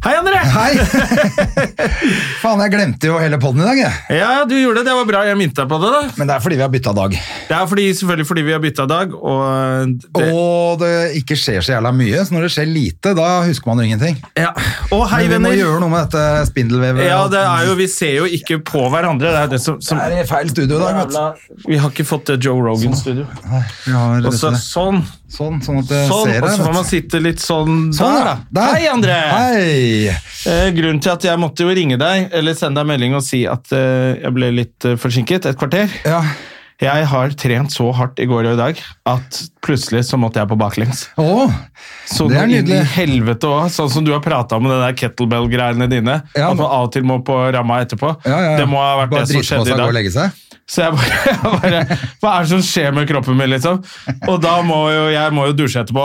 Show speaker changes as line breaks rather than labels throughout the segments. Hei, André!
Hei! Faen, jeg glemte jo hele poden i dag, jeg.
Ja, du gjorde det. Det var bra jeg minte deg på det. da.
Men det er fordi vi har bytta dag.
Det er fordi, selvfølgelig fordi vi har bytta dag, og eh, det,
Og det ikke skjer så jævla mye, så når det skjer lite, da husker man jo ingenting.
ja. og hei,
Men vi må
venner!
gjøre noe med dette spindelvevet.
Ja,
og-
det er jo, Vi ser jo ikke på hverandre. Det er det som, som
Det er i feil studio i dag, vet du.
Vi har ikke fått eh, Joe Rogan-studio.
Nei, vi har
Og så
dette-
sånn,
Sånn, sånn at jeg
sånn,
ser
og
det.
så får man
vet du.
sitte litt sånn
Sånn,
der, da. Hei, André!
Hei!
Eh, grunnen til at jeg måtte jo ringe deg, eller sende deg melding og si at eh, jeg ble litt eh, forsinket, et kvarter
Ja.
Jeg har trent så hardt i går og i dag at plutselig så måtte jeg på baklengs.
Å,
Så
Det er
nå inn i
nydelig.
helvete også, sånn som du har prata om med de der kettlebell-greiene dine.
Ja,
at man
men-
av og til må på ramma etterpå.
ja, ja.
Det må ha vært det
Bare
som
drite på
skjedde
seg,
i
gå og
dag.
legge seg.
Så jeg bare, jeg bare Hva er det som skjer med kroppen min, liksom? Og da må jo jeg må jo dusje etterpå.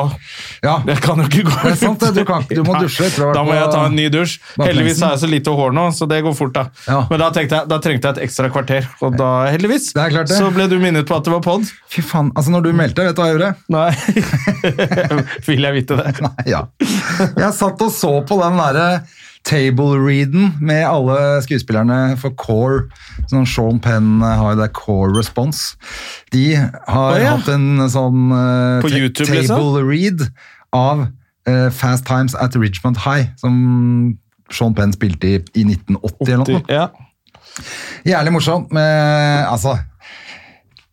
Ja.
Jeg kan jo ikke gå
Det er sant, det. Du kan ikke- du må
Nei,
dusje etter å ha vært
Da må
på
jeg ta en ny dusj.
baklengsen.
Heldigvis har jeg så lite hår nå, så det går fort, da.
Ja.
Men da, tenkte jeg, da trengte jeg et ekstra kvarter, og da, heldigvis,
Det er klart det.
så ble du minnet på at det var pod.
Fy faen, altså når du meldte, vet du hva jeg gjorde?
Nei Vil jeg vite det?
Nei, ja. Jeg satt og så på den derre table readen med alle skuespillerne for Core. Sånn Sean Penn har jo det Core Response. De har
Å, ja.
hatt en sånn eh,
På
ta-
YouTube,
table
liksom?
read av eh, Fast Times at Ridgemont High, som Sean Penn spilte i, i 1980 eller noe.
Ja.
Jævlig morsomt, men altså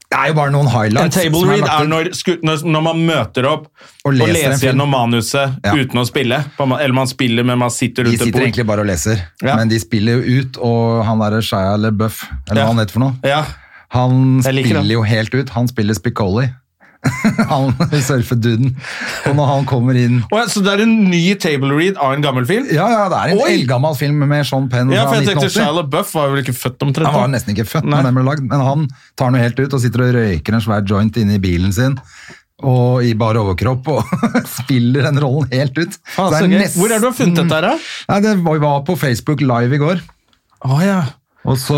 Det er jo bare noen
En
highlights.
table
som
read
lagt
er
ut.
når, sku- når, når man møter opp og
Og
leser,
leser en film.
gjennom manuset
Ja.
uten å spille. På en må- Eller man spiller, men man sitter
De
rundt et
sitter
bord.
egentlig bare og leser,
Ja.
men de spiller jo ut, og han derre Shia LeBuff,
Ja.
eller hva han heter for noe,
Ja.
han
Jeg liker
spiller
han.
jo helt ut. Han spiller Spicoli. han surfeduden. Og når han kommer inn
Å ja, så det er en ny table read av en gammel film?
Ja, ja, det er en
Oi!
eldgammel film med Sean Penn
Ja, for
fra
jeg tenkte
1980.
Shia Buff var vel ikke født omtrent?
Han var
da?
nesten ikke født
Nei.
når den ble lagd, men han tar den jo helt ut og sitter og røyker en svær joint inne i bilen sin. Og i bar overkropp, og spiller den rollen helt ut.
Faen,
Så
så
det
gøy.
nesten-
Hvor er det du har funnet dette her, da?
Nei, Det var- var på Facebook live i går.
Å ja.
Og så,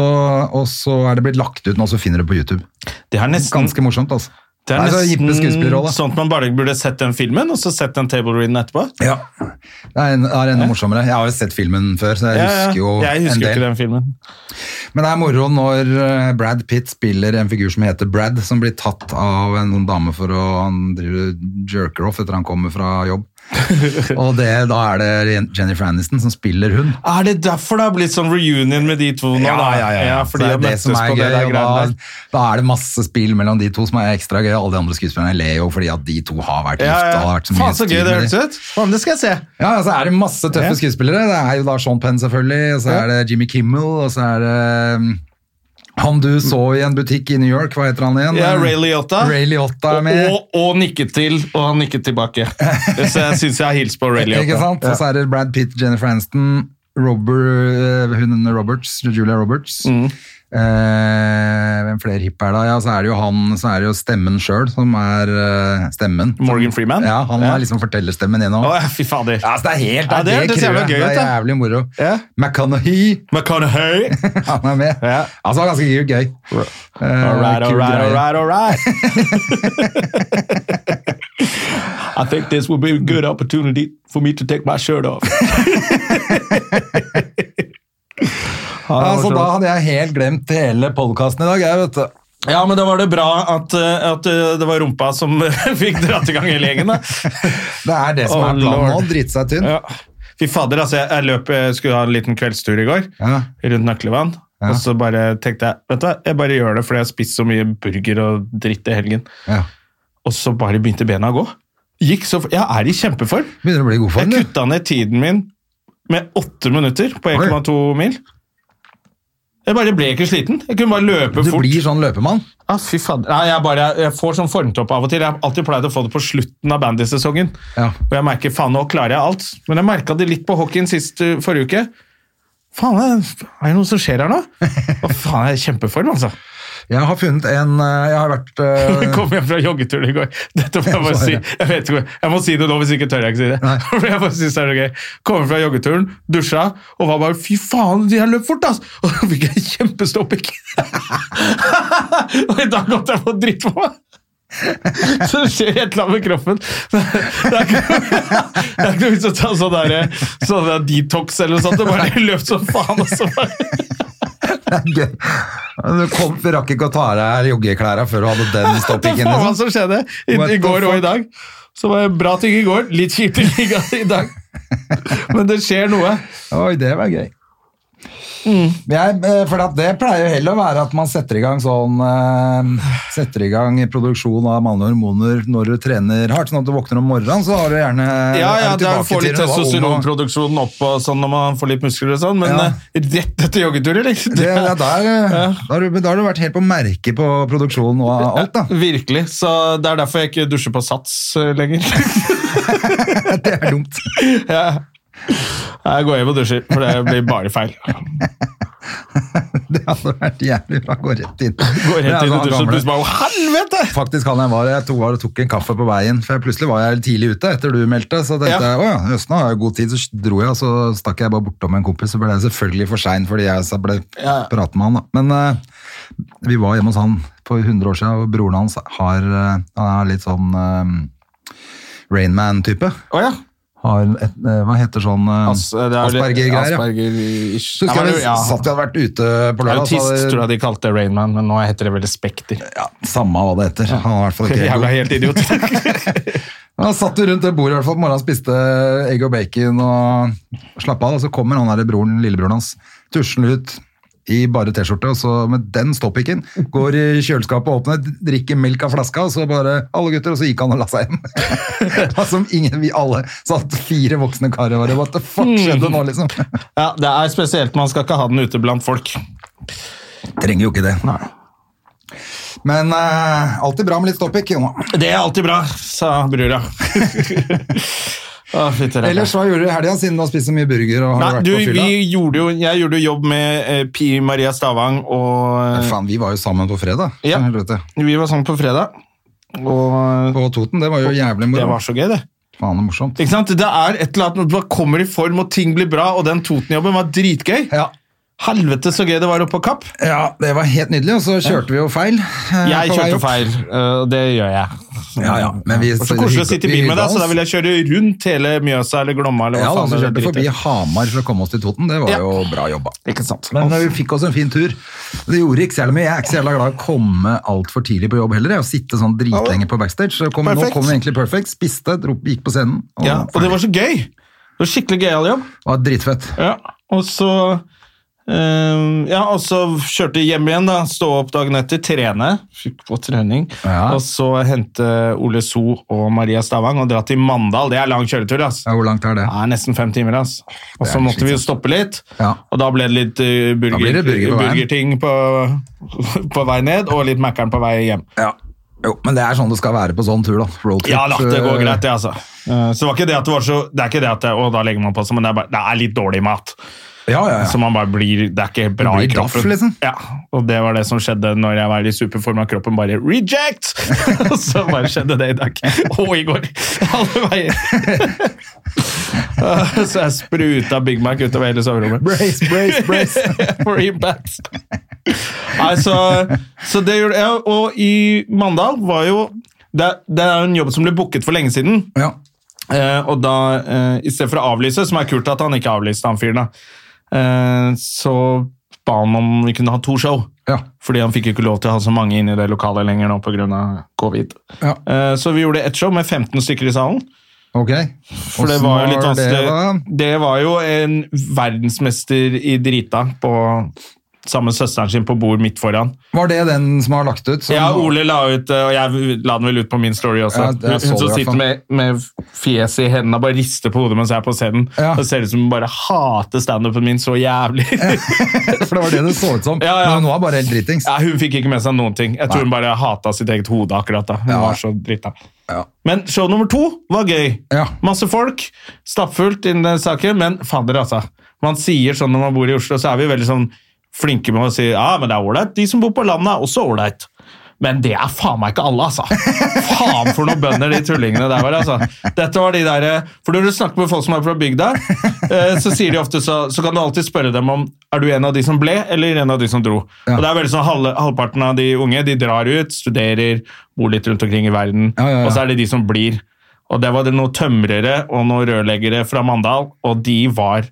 og så er det blitt lagt ut nå, så finner du det på YouTube.
Det er nesten,
Ganske morsomt, altså.
det er
Nei, så gippe
nesten
skuespillerrolle.
sånn at man bare burde sett den filmen, og så sett den table readen etterpå.
Ja. Det er, en, det er enda morsommere. Jeg har jo sett filmen før, så jeg
Ja, ja.
husker jo
Jeg
en
husker jo
del.
ikke den filmen.
Men det er moro når eh, Brad Pitt spiller en figur som heter Brad, som blir tatt av en sånn dame for å Han driver jerker off etter han kommer fra jobb. Og det, da er det Jennifer Aniston som spiller hun.
Er det derfor det har blitt sånn reunion med de to nå? da?
Så
fordi
det
jeg
er det
møttes
som er
på
gøy,
det der
og da,
greiene der.
da er det masse spill mellom de to som er ekstra gøy. Alle de andre skuespillerne ler jo fordi at de to har vært gift.
Ja,
og det har
ja.
vært så mye
Faen, så gøy
styr
det
med de.
høres ut! Faen, det skal jeg se!
Ja, så er det masse tøffe
Ja.
skuespillere. Det er jo da Sean Penn, selvfølgelig, og så er det Jimmy Kimmel, og så er det um, han du så i en butikk i New York, hva heter han igjen?
Ja, Ray Liotta.
Mm. Ray Liotta
Og,
er med.
og, og nikket til, og han nikket tilbake. Så jeg syns jeg har hilst på Ray
Ikke
Liotta.
sant? Og så er det Brad Pitt, Jennifer Aniston, Robert, eh, hun Roberts, Julia Roberts.
Mm.
Eh, hvem flere hipp er det? Ja, så er det jo han, så er det jo stemmen sjøl som er eh, stemmen.
Morgan Freeman?
Ja, han
Ja.
er liksom fortellerstemmen gjennom.
Å, ja, fy fader.
Ja, så det er helt
Ja, det
det,
hørtes jævla
crewet.
gøy ut,
Det er
da.
jævlig moro.
Ja.
McConaughey,
McConaughey!
han er med.
Ja.
Altså, det var ganske gøy. Eh,
All right, all
kul
right, all right,
greie.
all right. I think this will be a good opportunity for me to take my shirt off.
Altså, da hadde jeg helt glemt hele podkasten i dag, jeg, vet du.
Ja, men da var det bra at, eh, at eh, det var rumpa som fikk dratt i gang hele gjengen. da.
Det er det som
Oh,
er planen nå,
lord.
drite seg tynn.
Ja. Fy fader, altså, jeg, jeg løp, jeg skulle ha en liten kveldstur i går
Ja.
rundt Nøklevann.
Ja.
Og så bare tenkte jeg vet du hva, jeg bare gjør det fordi jeg har spist så mye burger og dritt i helgen.
Ja.
Og så bare begynte bena å gå. Gikk så, f- jeg er i kjempeform.
Begynner å bli i
Jeg
god form, du.
kutta ned tiden min med åtte minutter på 1,2 mil. Jeg bare ble ikke sliten. Jeg kunne bare løpe
Du
fort.
blir sånn løpemann.
Ah, fy fader. Nei, jeg, bare, jeg får sånn formtopp av og til. Jeg har alltid pleid å få det på slutten av bandysesongen.
Ja.
Og jeg merker faen, nå klarer jeg alt. Men jeg merka det litt på hockeyen sist eh, forrige uke. Faen, er er det noe som skjer her nå? Å, faen, jeg er i kjempeform, altså.
Jeg har funnet en eh, Jeg har vært
Jeg
eh,
kom hjem fra joggeturen i går. Dette må jeg bare si. Jeg, vet ikke, jeg må si det nå, hvis ikke tør jeg ikke si det.
Nei.
For jeg bare synes det er så gøy. Kom hjem fra joggeturen, dusja, og var bare fy faen, de har løpt fort, ass! Og så fikk jeg kjempestoppikk. og i dag måtte jeg få dritt på meg. Så det skjer et eller annet med kroppen. Det er ikke, det er ikke noe vits å ta sånn der, sånn der detox eller noe sånt. Det bare løp som faen. Og så bare.
Du kom, vi rakk ikke å ta av deg joggeklærne før du hadde den
Det
stoppikken.
faen hva
Liksom.
som skjedde i,
What
i
the
går og
fuck?
i dag. Så var det bra ting i går, litt kjipt i ligaen i dag. Men det skjer noe.
Oi, det var gøy. Jeg, eh, for at det pleier jo heller å være at man setter i gang sånn eh, Setter i gang produksjon av mannlige hormoner når du trener hardt. Sånn at du våkner om morgenen, så har du gjerne
Ja, ja,
er du
det er å
tilbake
få
til
litt
det du var ung og-
testosteronproduksjonen opp og sånn når man får litt muskler og sånn, men
Ja.
eh, rett etter joggeturer, liksom.
Det, ja, der, eh,
Ja.
da, har du, da har du vært helt på merket på produksjonen og alt, da.
Virkelig. Så det er derfor jeg ikke dusjer på sats eh, lenger.
Det er dumt.
ja. Jeg går hjem og dusjer, for det blir bare feil.
Det hadde vært jævlig bra. Gå rett inn.
Går
Det er
rett inn i dusjen
sånn
og
gamle-
plutselig bare «Å, Helvete!
Faktisk han jeg var, jeg tok, var og tok en kaffe på veien, for jeg plutselig var jeg tidlig ute etter du meldte, så tenkte
Ja.
jeg, åja, jøss, nå har jeg god tid, så dro jeg, og så stakk jeg bare bortom en kompis, så ble jeg selvfølgelig for sein, fordi jeg så ble
Ja.
pratet med han, da. Men eh, vi var hjemme hos han for 100 år siden, og broren hans har, eh, han er litt sånn Rainman-type.
Å ja.
Har et, eh, hva heter sånn eh,
As- det er vel-
Asperger-greier, ja.
Asperger-ish.
Så husker
Ja,
jeg
men-
vi
ja.
satt vi hadde vært ute på lørdag, så
Autist tror jeg
hadde,
de kalte Rainman, men nå heter det vel Spekter.
ja, samme hva det heter. Han var i hvert fall ikke helt god.
Jævla helt idiot.
Da satt vi rundt det bordet i hvert fall på morgenen, spiste egg og bacon og slapp av, og så kommer han der broren, lillebroren hans, tuslende ut i bare t-skjorte, og så med den stoppikken, går i kjøleskapet og åpner, drikker melk av flaska, og så bare, alle gutter, og så gikk han og la seg hjem. Da som ingen, vi alle, satt fire voksne karer og bare, what the fuck skjedde nå, liksom?
ja, det er spesielt. Man skal ikke ha den ute blant folk.
Trenger jo ikke det. Men eh, alltid bra med litt stoppikk, Jonas.
Det er alltid bra, sa brura. Å, fytti ræva.
Ellers, hva gjorde du i helgen siden du har spist så mye burger og har
Nei,
vært
du,
på fylla?
vi gjorde jo, jeg gjorde jo jobb med eh, Pi Maria Stavang, og
Faen, vi var jo sammen på fredag.
Ja.
for helvete.
vi var sammen på fredag. Og
på Toten. Det var jo jævlig
det
moro.
var så gøy, det.
Faen, det er morsomt.
Ikke sant? Det er et eller annet når du bare kommer i form, og ting blir bra, og den Toten-jobben var dritgøy.
Ja.
Helvete så gøy det var oppe på Kapp.
ja, det var helt nydelig, og så kjørte vi jo feil. eh,
Jeg
på vei
kjørte
opp.
feil, eh, og det gjør jeg.
Ja, ja. Men vi,
Og så koselig å sitte i bil med deg, så da vil jeg kjøre rundt hele Mjøsa eller Glomma eller hva
ja, da,
faen
så
det
kjørte vi
driter
forbi
i.
Hamar for å komme oss til Toten. Det var
Ja.
jo bra jobba.
Ikke sant.
Men eh, vi fikk oss en fin tur. Det gjorde ikke så jævlig mye. Jeg er ikke så jævla glad i å komme altfor tidlig på jobb heller. Jeg, å sitte sånn dritlenge på backstage. Så kom, nå
Perfekt.
kom vi egentlig perfekt. Spiste, dro, gikk på scenen. Og,
ja, og det var så gøy! Det var skikkelig gøyal jobb.
det var dritfett.
Ja, og så eh, ja, og så kjørte jeg hjem igjen, da. Stå opp dagen etter, trene. Fikk på trening.
Ja.
Og så hente Ole So og Maria Stavang og dra til Mandal. Det er lang kjøretur, ass.
Ja, hvor langt er det?
Det er nesten fem timer, ass. Og så
er
måtte vi jo stoppe litt,
Ja.
og da ble det litt eh, burger,
blir det burger på veien.
burgerting på, på vei ned, og litt Mækkern på vei hjem.
Ja. Jo, men det er sånn det skal være på sånn tur, da. Roadtrip,
Ja da, det går
eh,
greit, det, altså. Eh, Så det var ikke det at det var så Det er ikke det at det, Å, da legger man på seg, men det er, bare, det er litt dårlig mat.
Ja, ja, ja.
Så man bare blir Det er ikke bra
Du blir
i
daff,
kroppen.
liksom.
Ja, og det var det som skjedde når jeg var i superform av kroppen. Bare reject! Og så bare skjedde det i dag. Og i går. Alle veier. Eh, Så jeg spruta Big Mac utover hele soverommet.
Brace, brace, brace.
For impact. Nei, så, så det gjorde jeg. Og i Mandal var jo det, det er jo en jobb som ble booket for lenge siden.
Ja.
Eh, og da, eh, i stedet for å avlyse, som er kult at han ikke avlyste, han fyren, da, eh, så ba han om vi kunne ha to show.
Ja.
Fordi han fikk jo ikke lov til å ha så mange inne i det lokalet lenger nå pga. covid.
Ja.
Eh, så vi gjorde ett show med 15 stykker i salen.
Ok.
For det var jo litt sånn
Hvordan var det,
vanskelig. Det var jo en verdensmester i drita på sammen med søsteren sin på bord midt foran.
Var det den som har lagt ut? som-
Ja, Ole la ut, eh, og jeg la den vel ut på min story også.
Ja, det- jeg så
hun som
det i hvert
sitter
fall.
med, med fjeset i hendene og bare rister på hodet mens jeg er på scenen.
Ja.
Det ser ut som hun bare hater standupen min så jævlig.
For det var det det så ut som.
Ja, ja.
Men hun var bare helt dritings.
Ja, hun fikk ikke med seg noen ting. Jeg tror hun bare hata sitt eget hode akkurat da. Hun
Ja.
var så drita.
Ja.
Men show nummer to var gøy.
Ja.
Masse folk, stappfullt innen den saken, men fader, altså. Man sier sånn når man bor i Oslo, så er vi veldig sånn flinke med å si ja, men det er ålreit. De som bor på landet, er også ålreit. Men det er faen meg ikke alle, altså. Faen for noen bønder de tullingene der var. altså. Dette var de der, For når du snakker med folk som er fra bygda, eh, så sier de ofte så, så kan du alltid spørre dem om er du en av de som ble, eller en av de som dro. Og det er veldig sånn halve, Halvparten av de unge de drar ut, studerer, bor litt rundt omkring i verden,
Ja, ja, ja.
og så er det de som blir. Og det var det noen tømrere og noen rørleggere fra Mandal, og de var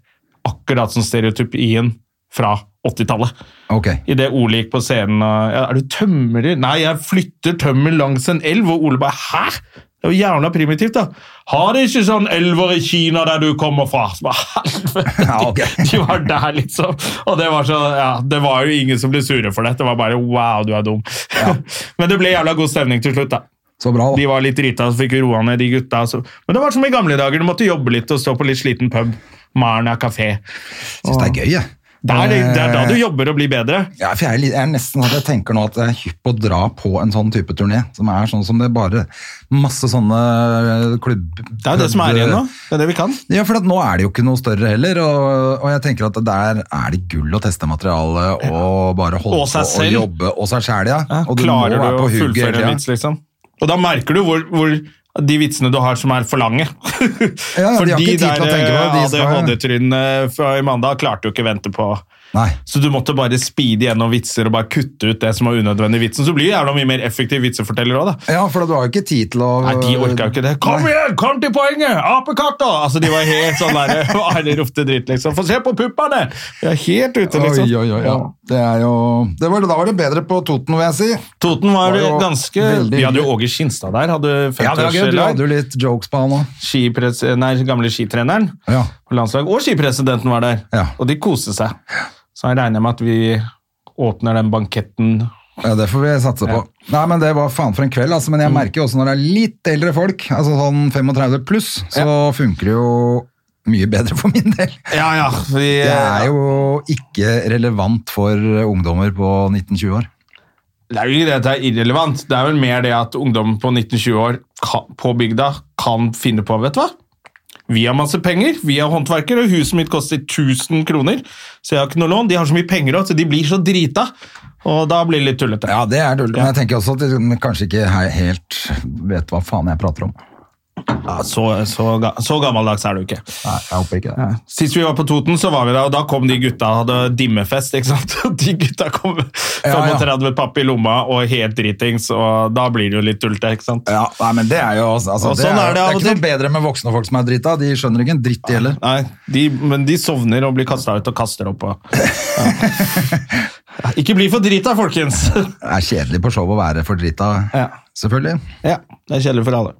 akkurat som stereotypien fra 80-tallet.
Ok.
Idet Ole gikk på scenen og ja, 'Er du tømrer?' 'Nei, jeg flytter tømmer langs en elv.' Og Ole bare 'Hæ?! Det er jo jævla primitivt, da. Har de ikke sånn elver i Kina der du kommer fra? Så bare, helvete!
Ja, ok.
De var der, liksom. Og det var, så, ja, det var jo ingen som ble sure for det. Det var bare 'wow, du er dum'. Men det ble jævla god stemning til slutt, da.
Så bra,
De
da.
var litt drita, så fikk vi roa ned de gutta. Så. Men det var som i gamle dager, du måtte jobbe litt og stå på litt sliten pub. Marna kafé.
Syns det er gøy, jeg.
Det er, det er da
Eh,
du jobber og blir bedre.
Ja, for jeg er, litt- jeg er nesten sånn at jeg tenker nå at jeg er hypp på å dra på en sånn type turné, som er sånn som det bare masse sånne eh, klubb...
Det er jo det som er igjen nå. Det er det vi kan.
Ja, for at nå er det jo ikke noe større heller, og, og jeg tenker at der er det gull å teste materialet og bare holde
Og seg
på og
selv.
jobbe og seg sjæl, ja.
Ja,
Og du må
Klarer
være
du å
på hugget
fullføre
hele
en
tiden.
vits, liksom? Og da merker du hvor, hvor de vitsene du har som er for lange.
Ja, ja,
For
de har ikke tid til å tenke på det, de
der
skal-
ADHD-trynene fra i mandag klarte jo ikke vente på
Nei.
Så du måtte bare speede gjennom vitser og bare kutte ut det som var unødvendig vitsen. Så blir det jævla mye mer effektiv vitseforteller òg, da.
Ja, for du har jo ikke tid til å
Nei, de orka jo ikke det. Kom igjen, kom til poenget! Apekatta! Altså, de var helt sånn der Arne ropte dritt, liksom. Få se på puppene! De er helt ute, liksom.
Oi, oi, oi. Ja. Det er jo det var, Da var det bedre på Toten, vil jeg si.
Toten var
Var jo
ganske
veldig
Vi hadde jo Åge Skinstad der. Hadde
Ja, det var gøy. Du
50-årsdag.
hadde jo litt jokes på han òg.
Skipres- nei, gamle skitreneren
Ja.
på landslag, og skipresidenten var der.
Ja.
Og de koste seg. Så jeg regner med at vi åpner den banketten
Ja, det får vi satse på. Nei, men Det var faen for en kveld, altså.
Mm.
Men jeg merker jo også når det er litt eldre folk, altså sånn 35 pluss, så funker det jo mye bedre for min del.
Ja, ja. Vi,
Det er jo ikke relevant for ungdommer på 19-20 år.
Det er jo ikke det at det er irrelevant. Det er vel mer det at ungdom på 19-20 år kan, på bygda kan finne på, vet du hva? Vi har masse penger, vi har håndverkere, huset mitt koster 1000 kroner, så jeg har ikke noe lån. De har så mye penger også, så de blir så drita, og da blir det litt tullete.
Ja, det er dullt. Men jeg tenker også at de kanskje ikke he- helt vet hva faen jeg prater om.
Ja, så, så, ga- så gammeldags er du ikke.
Nei, jeg håper ikke det.
Sist vi var på Toten, så var vi der, og da kom de gutta og hadde dimmefest. ikke sant? Og De gutta kom med
Ja, ja.
35 papp i lomma og helt dritings, og da blir det jo litt tullete. ikke sant?
Ja, nei, men Det er jo altså,
Og
det,
sånn
er,
er det
det
av
er
og
ikke noe bedre med voksne folk som er drita. De skjønner ikke en dritt, de heller.
Nei, de, Men de sovner og blir kasta ut og kaster opp. Og, ja. Ikke bli for drita, folkens!
Det er kjedelig på show å være for drita,
Ja.
selvfølgelig.
Ja, Det er kjedelig for alle.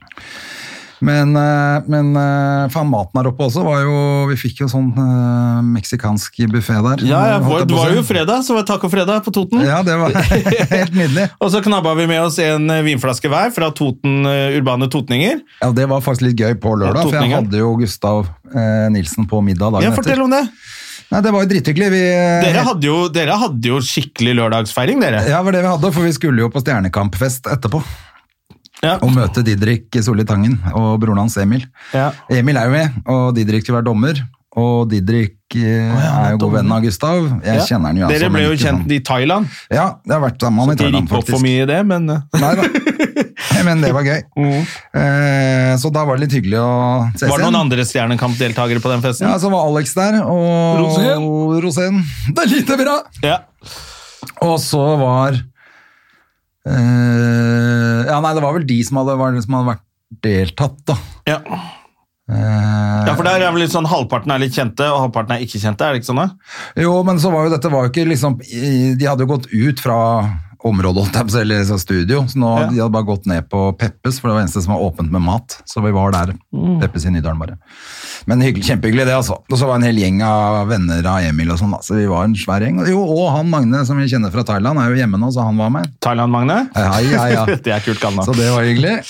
Men, eh, men eh, faen, maten her oppe også var jo Vi fikk jo sånn eh, meksikansk buffé der.
Ja, ja,
holdt
vår,
jeg
Det
på å
var
si.
jo fredag, så var det taco fredag på Toten.
Ja, det var helt nydelig.
Og så knabba vi med oss en eh, vinflaske hver fra Toten, eh, urbane totninger.
Ja, Det var faktisk litt gøy på lørdag, for jeg
Totningen.
hadde jo Gustav eh, Nilsen på middag
Ja,
dagen
fortell
etter.
om det!
Nei, Det var jo drithyggelig. Vi, eh,
Dere hadde jo, dere hadde jo skikkelig lørdagsfeiring, dere.
Ja, det var det vi hadde, for vi skulle jo på Stjernekampfest etterpå
Ja.
og møte Didrik Solli Tangen og broren hans Emil.
Ja.
Emil er jo med, og Didrik skulle være dommer. Og Didrik eh,
han er
er jo god
dommer.
venn av Gustav. Jeg
Ja.
kjenner han jo.
Dere ble
altså, men
jo
ikke
kjent
sånn.
i Thailand.
Ja, det har vært sammen med han i
De
Thailand,
gikk opp for
faktisk.
mye i det, men eh,
Nei da. Men det var gøy. Eh, så da var det litt hyggelig å ses
var det
igjen.
noen andre Stjernekamp-deltakere på den festen?
Ja, altså. så var Alex der, og
Rosén.
Rosén. Det er lite bra!
Ja.
Og så var eh, Ja, nei, det var vel de som hadde, var, som hadde vært deltatt, da.
Ja.
Eh,
ja, for der er vel litt sånn halvparten er litt kjente, og halvparten er ikke kjente. er det ikke sånn da?
Jo, men så var jo dette var jo ikke liksom i- De hadde jo gått ut fra område, holdt jeg på å si, eller så studio. Så nå
Ja.
de hadde bare gått ned på Peppes, for det var eneste som var åpent med mat. Så vi var der.
Mm.
Peppes i Nydalen, bare. Men hyggelig, kjempehyggelig, det, altså. Og så var det en hel gjeng av venner av Emil og sånn, da. Så vi var en svær gjeng. Jo, og han Magne, som vi kjenner fra Thailand, er jo hjemme nå, så han var med.
Thailand, Magne?
Hei, hei, ja.
det er kult, Kanna.
Så det var hyggelig.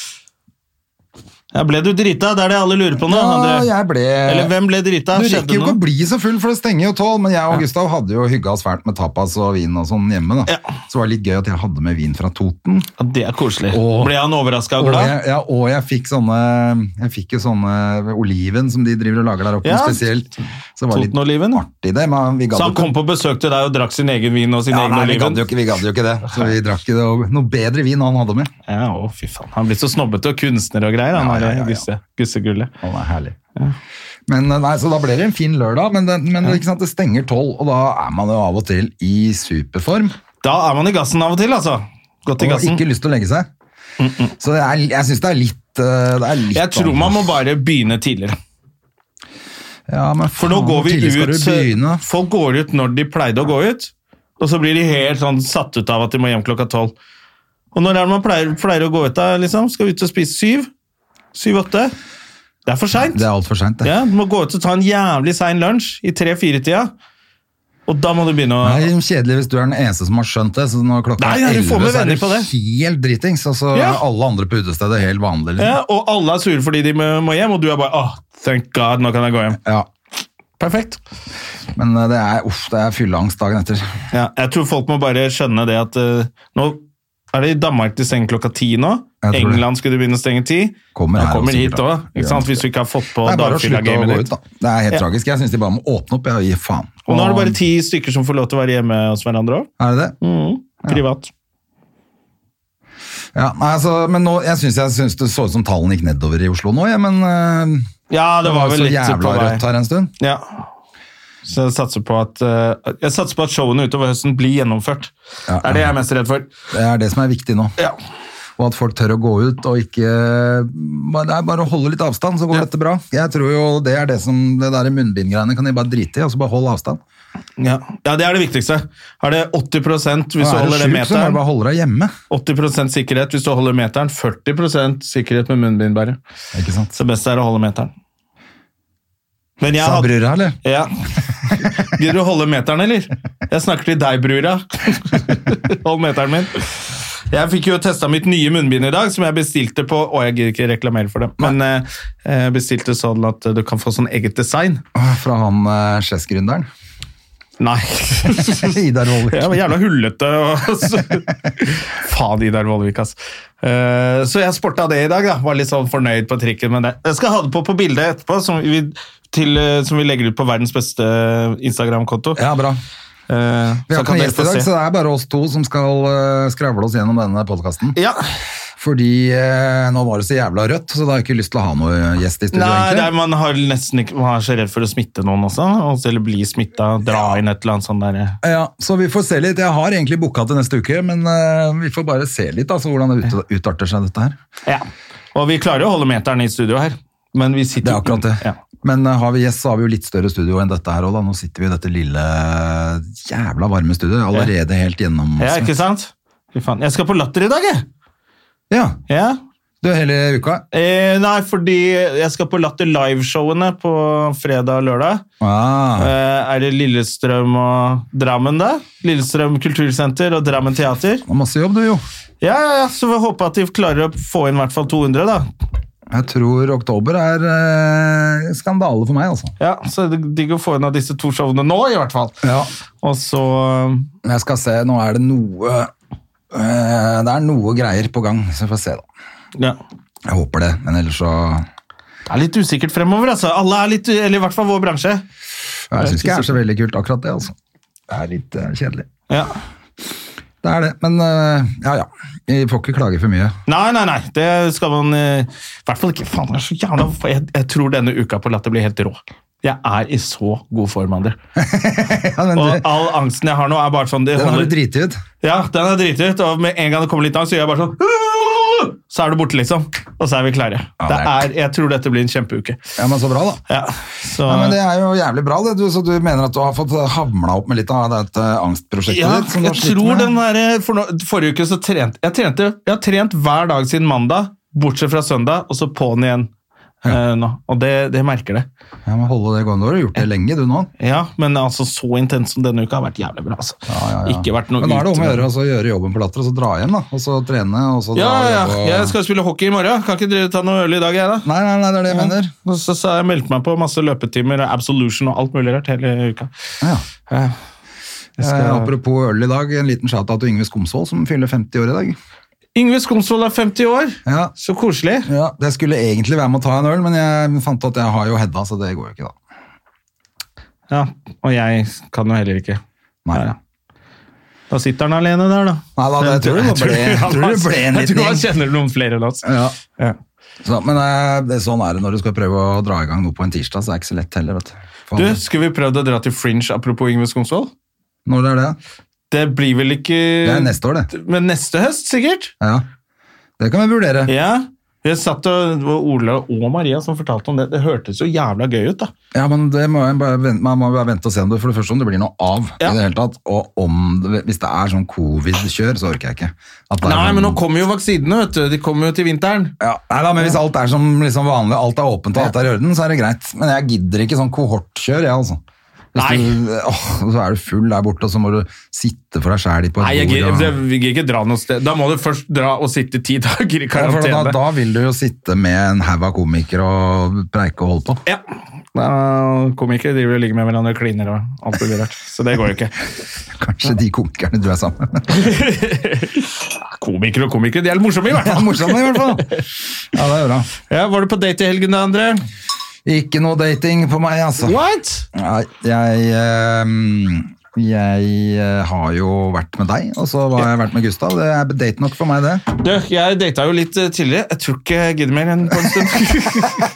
Ja, ble du drita? Det er det alle lurer på nå.
Ja,
André.
jeg ble
Eller hvem ble drita?
Du
Skjedde
rekker jo ikke
noe?
å bli så full, for det stenger jo tolv. Men jeg og Gustav hadde jo hygga oss fælt med tapas og vin og sånn hjemme. da.
Ja.
Så det var litt gøy at jeg hadde med vin fra Toten.
Ja, det er koselig.
Åh.
Ble han overraska og
Og
glad?
jeg, ja, og jeg fikk sånne jeg fikk jo sånne oliven som de driver og lager der oppe,
Ja.
spesielt. Så det var litt
Totenoliven?
artig det, men vi
Så
gadd jo
han kom
ikke.
på besøk til deg og drakk sin egen vin og sin
Ja,
egen
nei, vi
oliven?
gadd jo ikke, vi gadd jo ikke det. Så vi drakk jo det, og noe bedre vin han hadde med.
Ja, å, fy faen. Han blir så snobbete og kunstner og greier, han der
Ja, ja, ja, ja.
Gusse, gussegullet.
Å, det er herlig. Men eh, nei, Så da ble det en fin lørdag, men, det, men ikke sant, det stenger tolv, og da er man jo av og til i superform.
Da er man i gassen av og til, altså. Godt i
Og
gassen.
ikke lyst til å legge seg. Så det er, jeg syns det er litt eh, det er litt
Jeg tror man må bare begynne tidligere.
ja, men
For nå
faen,
går vi
hvor tidlig
ut
Skal du begynne?
Folk går ut når de pleide å gå ut, og så blir de helt sånn satt ut av at de må hjem klokka tolv. Og når er det man pleier, pleier å gå ut da, liksom? Skal ut og spise syv? Syv-åtte? Det er for seint.
Det er altfor seint, det.
Ja, du må gå ut og ta en jævlig sein lunsj i tre-fire-tida, og da må du begynne å
Det er kjedelig hvis du er den eneste som har skjønt det. Så når klokka
Nei,
er
ja, du får
11,
med
så er
venner på
du
det.
helt dritings, og så
Ja.
er alle andre på utestedet helt vanlige. liksom.
ja, Og alle er sure fordi de må må hjem, og du er bare åh, thank god, nå kan jeg gå hjem.
Ja.
Perfekt.
Men eh, det er, uff, det er fylleangst dagen etter.
Ja, jeg tror folk må bare skjønne det at eh, nå er det i Danmark de stenger klokka ti nå.
Jeg tror det.
England skulle begynne å stenge ti.
Kommer
Da
her
kommer
også,
hit
sikkert,
òg,
da.
ikke sant? Hvis du ikke har fått på
det er bare å slutte å
dagfylla-gamet
gå ut,
ditt.
da. Det er helt
Ja.
tragisk. Jeg syns de bare må åpne opp. Jeg gir faen.
Og nå er det bare Mm. ti stykker som får lov til å være hjemme hos hverandre òg.
Er det det?
Privat.
Ja, nei, altså, men nå, jeg syns jeg synes det så ut som tallene gikk nedover i Oslo nå, ja, men eh,
Ja, det,
det
var
var
vel
så
litt på
jævla
vei.
rødt her en stund.
Ja. Så jeg satser på at, eh, jeg satser på at showene utover høsten blir gjennomført.
Ja,
Det er det jeg er mest redd for.
Det er det som er viktig nå.
Ja.
Og at folk tør å gå ut og ikke bare- Det er bare å holde litt avstand, så går dette bra. Jeg tror jo det er det som Det der munnbindgreiene kan de bare drite i, og så bare hold avstand.
Ja. ja, det er det viktigste. Er det 80 hvis du
er du
holder det
sjuk, så må du
meteren?
bare holde deg hjemme.
80 sikkerhet hvis du holder meteren, 40 sikkerhet med munnbind bare.
Ikke sant?
Så det beste er å holde meteren. Men jeg
Sa
hadde...
brura, eller?
Ja. Gidder du å holde meteren, eller? Jeg snakker til deg, brura. Hold meteren min. Jeg fikk jo testa mitt nye munnbind i dag, som jeg bestilte på Å, jeg gidder ikke reklamere for det, men eh, jeg bestilte sånn at du kan få sånn eget design.
Åh, Fra han eh, Chess-gründeren.
Nei.
Idar
Jeg var
Vollvik.
jævla hullete. Og så. Faen, Idar Vollvik, ass. Eh, så jeg sporta det i dag. da. Var litt sånn fornøyd på trikken med det. Jeg skal ha det på på bildet etterpå, som vi, til, eh, som vi legger ut på verdens beste eh, Instagram-konto.
Ja, bra.
Eh,
Vi
så
har ikke
kan
noen
dere
gjest i
få
dag,
se.
så det er bare oss to som skal eh, skravle oss gjennom denne podkasten.
Ja.
Fordi eh, nå var det så jævla rødt, så da har jeg ikke lyst til å ha noe gjest i studio.
Nei,
egentlig.
det er, man, har nesten ikke, man er så redd for å smitte noen også. og- Eller bli smitta, dra inn et eller annet sånt der.
Ja, så vi får se litt. Jeg har egentlig boka til neste uke, men eh, vi får bare se litt altså, hvordan det ut, utarter seg dette her.
Ja. Og vi klarer jo å holde meteren i studio her, men vi sitter
Det er akkurat det.
Ja.
Men eh, har vi gjest, så har vi jo litt større studio enn dette her òg, da. Nå sitter vi i dette lille, jævla varme studioet. Allerede helt gjennom.
ja, ikke sant? Fy faen. Jeg skal på Latter i dag, jeg!
Ja,
Ja.
du er hele uka.
Eh, nei, fordi jeg skal på Latter Live-showene på fredag og lørdag.
Ah,
Eh, er det Lillestrøm og Drammen, da? Lillestrøm kultursenter og Drammen teater.
det er masse jobb du, jo.
Ja, ja, ja, så vi håper at de klarer å få inn i hvert fall 200, da.
Jeg tror oktober er eh, skandale for meg, altså.
Ja, Så det er digg å få inn av disse to showene nå, i hvert fall.
Ja.
Og så
Jeg skal se, nå er det noe eh, Det er noe greier på gang, så vi får se, da.
Ja.
Jeg håper det, men ellers så
Det er litt usikkert fremover, altså. Alle er litt, eller i hvert fall vår bransje.
Jeg syns ikke det er så veldig kult, akkurat det. altså. Det er litt eh, kjedelig.
Ja.
Det er det, men eh, ja ja. Vi får ikke klage for mye.
Nei, nei, nei. Det skal man eh, I hvert fall ikke. Faen, det er så jævla jeg, jeg tror denne uka på Latter blir helt rå. Jeg er i så god form, Ander.
Ja, men
Og
du,
all angsten jeg har nå, er bare sånn det
den har du
holder,
driti ut.
Ja, den er driti ut. Og med en gang det kommer litt angst, så gjør jeg bare sånn så er du borte, liksom. Og så er vi klare.
Ja,
det
det er-
er, jeg tror dette blir en kjempeuke.
Ja, men så bra, da.
Ja, så,
Ja, men Det er jo jævlig bra, det. Du, så du mener at du har fått hamla opp med litt av dette angstprosjektet
ja,
ditt? som du har
jeg
slitt
tror
med?
den der, eh, for nå- Forrige uke så trente jeg trente, Jeg har trent hver dag siden mandag, bortsett fra søndag, og så på'n igjen eh, nå. Og det, det merker det.
Ja, men holde det gående. Du har gjort det lenge, du nå.
Ja, men altså så intens som denne uka har vært jævlig bra. altså.
Ja, ja, ja.
Ikke vært noe
men da er det om å
ute-
gjøre altså. å gjøre jobben på Latter, og så dra hjem, da. Og så trene, og så
Ja,
dra
ja,
jobbe
ja.
og-
Jeg skal spille hockey i morgen. Kan ikke dere ta noe øl i dag, jeg, da?
Nei, nei, nei, det er det jeg mener.
Og Så, så har jeg meldt meg på masse løpetimer, Absolution og alt mulig rart hele uka.
Ja.
Eh, Jeg skal...
Eh, apropos øl i dag, en liten shout-out til Yngve Skomsvold, som fyller 50 år i dag.
Yngve Skomsvold er 50 år.
Ja,
Så koselig.
ja, Det skulle egentlig være med å ta en øl, men jeg fant at jeg har jo Hedda, så det går jo ikke, da.
Ja, Og jeg kan jo heller ikke.
Nei.
Ja, ja. Da sitter han alene der, da.
Nei, da, det- jeg tror det
Jeg
bare ble- jeg tror det ble en
Jeg tror han
liten
kjenner noen flere enn oss.
Ja.
Ja.
Så, men eh, det, sånn er det når du skal prøve å dra i gang noe på en tirsdag, så er det ikke så lett heller, vet du. Faen. altså.
Du, skulle vi prøvd å dra til Fringe, apropos Yngve Skomsvold?
Når det er det?
Det blir vel ikke
Det er neste år, det.
Men neste høst, sikkert?
Ja. Det kan vi vurdere.
Ja. Jeg satt og, det var Ola og Maria som fortalte om det. Det hørtes jo jævla gøy ut, da.
Ja, men det må jeg bare vente, Man må bare vente og se om det, for det første om det blir noe av.
Ja.
i det hele tatt, Og om det, hvis det er sånn covid-kjør, så orker jeg ikke. At det er
Nei,
sånn-
men nå kommer jo vaksinene, vet du. De kommer jo til vinteren.
ja, nei da, men Hvis alt er som liksom vanlig, alt er åpent og alt er i orden, så er det greit. Men jeg gidder ikke sånn kohortkjør, jeg, altså. Hvis
Nei.
Du, åh, så er du full der borte, og så må du sitte for deg sjæl på
Nei, jeg
et
gidder
bord.
jeg
og-
gidder ikke dra noe sted. Da må du først dra og sitte ti dager i
Ja, for da,
karantene.
da vil du jo sitte med en haug av komikere og preike og holde på.
Ja. Da- Komikere driver og ligger med hverandre og kliner og alt mulig rart. Så det går jo ikke.
Kanskje de komikerne du er sammen med.
Komikere og komikere, de er litt morsomme i hvert
Ja,
fall.
morsomt i hvert fall. Ja, det er bra.
Ja, Var du på date i helgen da, André?
Ikke noe dating på meg, altså.
What?
Nei, jeg ehm, Jeg eh, har jo vært med deg, og så har jeg vært med Gustav. Det er date nok for meg, det.
Du, jeg data jo litt eh, tidligere. Jeg tror ikke jeg gidder mer enn på en stund.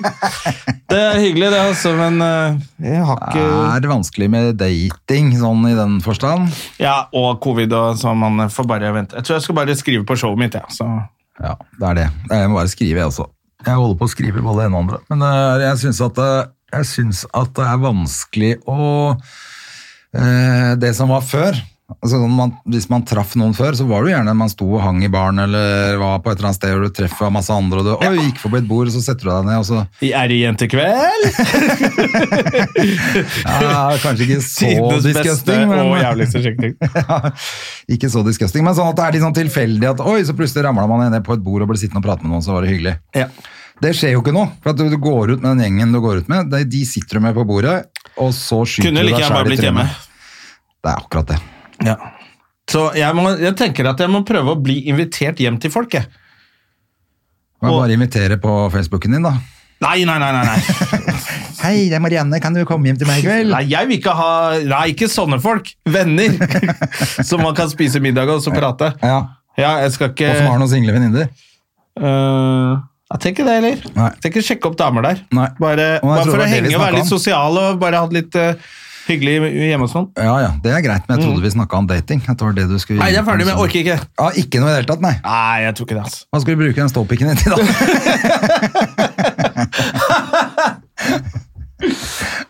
det er hyggelig, det, altså, men eh, jeg har
Det
ikke
er vanskelig med dating, sånn i den forstand.
Ja, og covid og så man eh, får bare vente. Jeg tror jeg skal bare skrive på showet mitt, jeg. Ja, så-
Ja, det er det. Jeg må bare skrive, jeg også. Jeg holder på å skrive både det ene og andre. Men eh, jeg syns at, det- jeg syns at det er vanskelig å eh, Det som var før altså sånn man, Hvis man traff noen før, så var det jo gjerne man sto og hang i baren eller var på et eller annet sted og du treffer masse andre, og du oi, gikk forbi et bord, og så setter du deg ned, og så
Er det jentekveld?
Ja, kanskje ikke så
Tidenes beste
disgusting,
og
men,
jævligste sjekking.
ja, ikke så disgusting, men sånn at det er litt sånn tilfeldig at oi, så plutselig ramla man ned på et bord og ble sittende og prate med noen, så var det hyggelig.
Ja.
Det skjer jo ikke nå, for at du, du går ut med den gjengen du går ut med, de, de sitter du med på bordet, og så skyter
Kunne
du
like
deg
gjerne bare
sjæl i
blitt hjemme.
trynet. Det er akkurat det.
Ja. Så jeg, må, jeg tenker at jeg må prøve å bli invitert hjem til folk, jeg.
Man
Og-
bare inviterer på Facebooken din, da.
Nei, nei, nei, nei. nei.
Hei, det er Marianne, kan du komme hjem til meg i kveld?
Nei, jeg vil ikke ha Nei, ikke sånne folk. Venner. Som man kan spise middag og så prate.
Ja,
Ja, jeg skal ikke
og som har noen single venninner.
Øh, Jeg tenker det, eller?
Nei.
Jeg tenker sjekke opp damer der.
Nei.
Bare,
Og jeg
bare
tror
for å
det var det vi
henge og være
snakket
litt
om.
sosial og bare ha det litt eh, hyggelig hjemme og sånn.
Ja, ja, det er greit, men jeg trodde vi snakka om dating. At det var det du skulle
Mm.
liksom-
Nei, jeg er ferdig med Jeg orker ikke.
Ja, ikke noe i det hele tatt, nei.
Nei, jeg tror ikke det, altså.
Hva skal du bruke den ståpikken din til, da?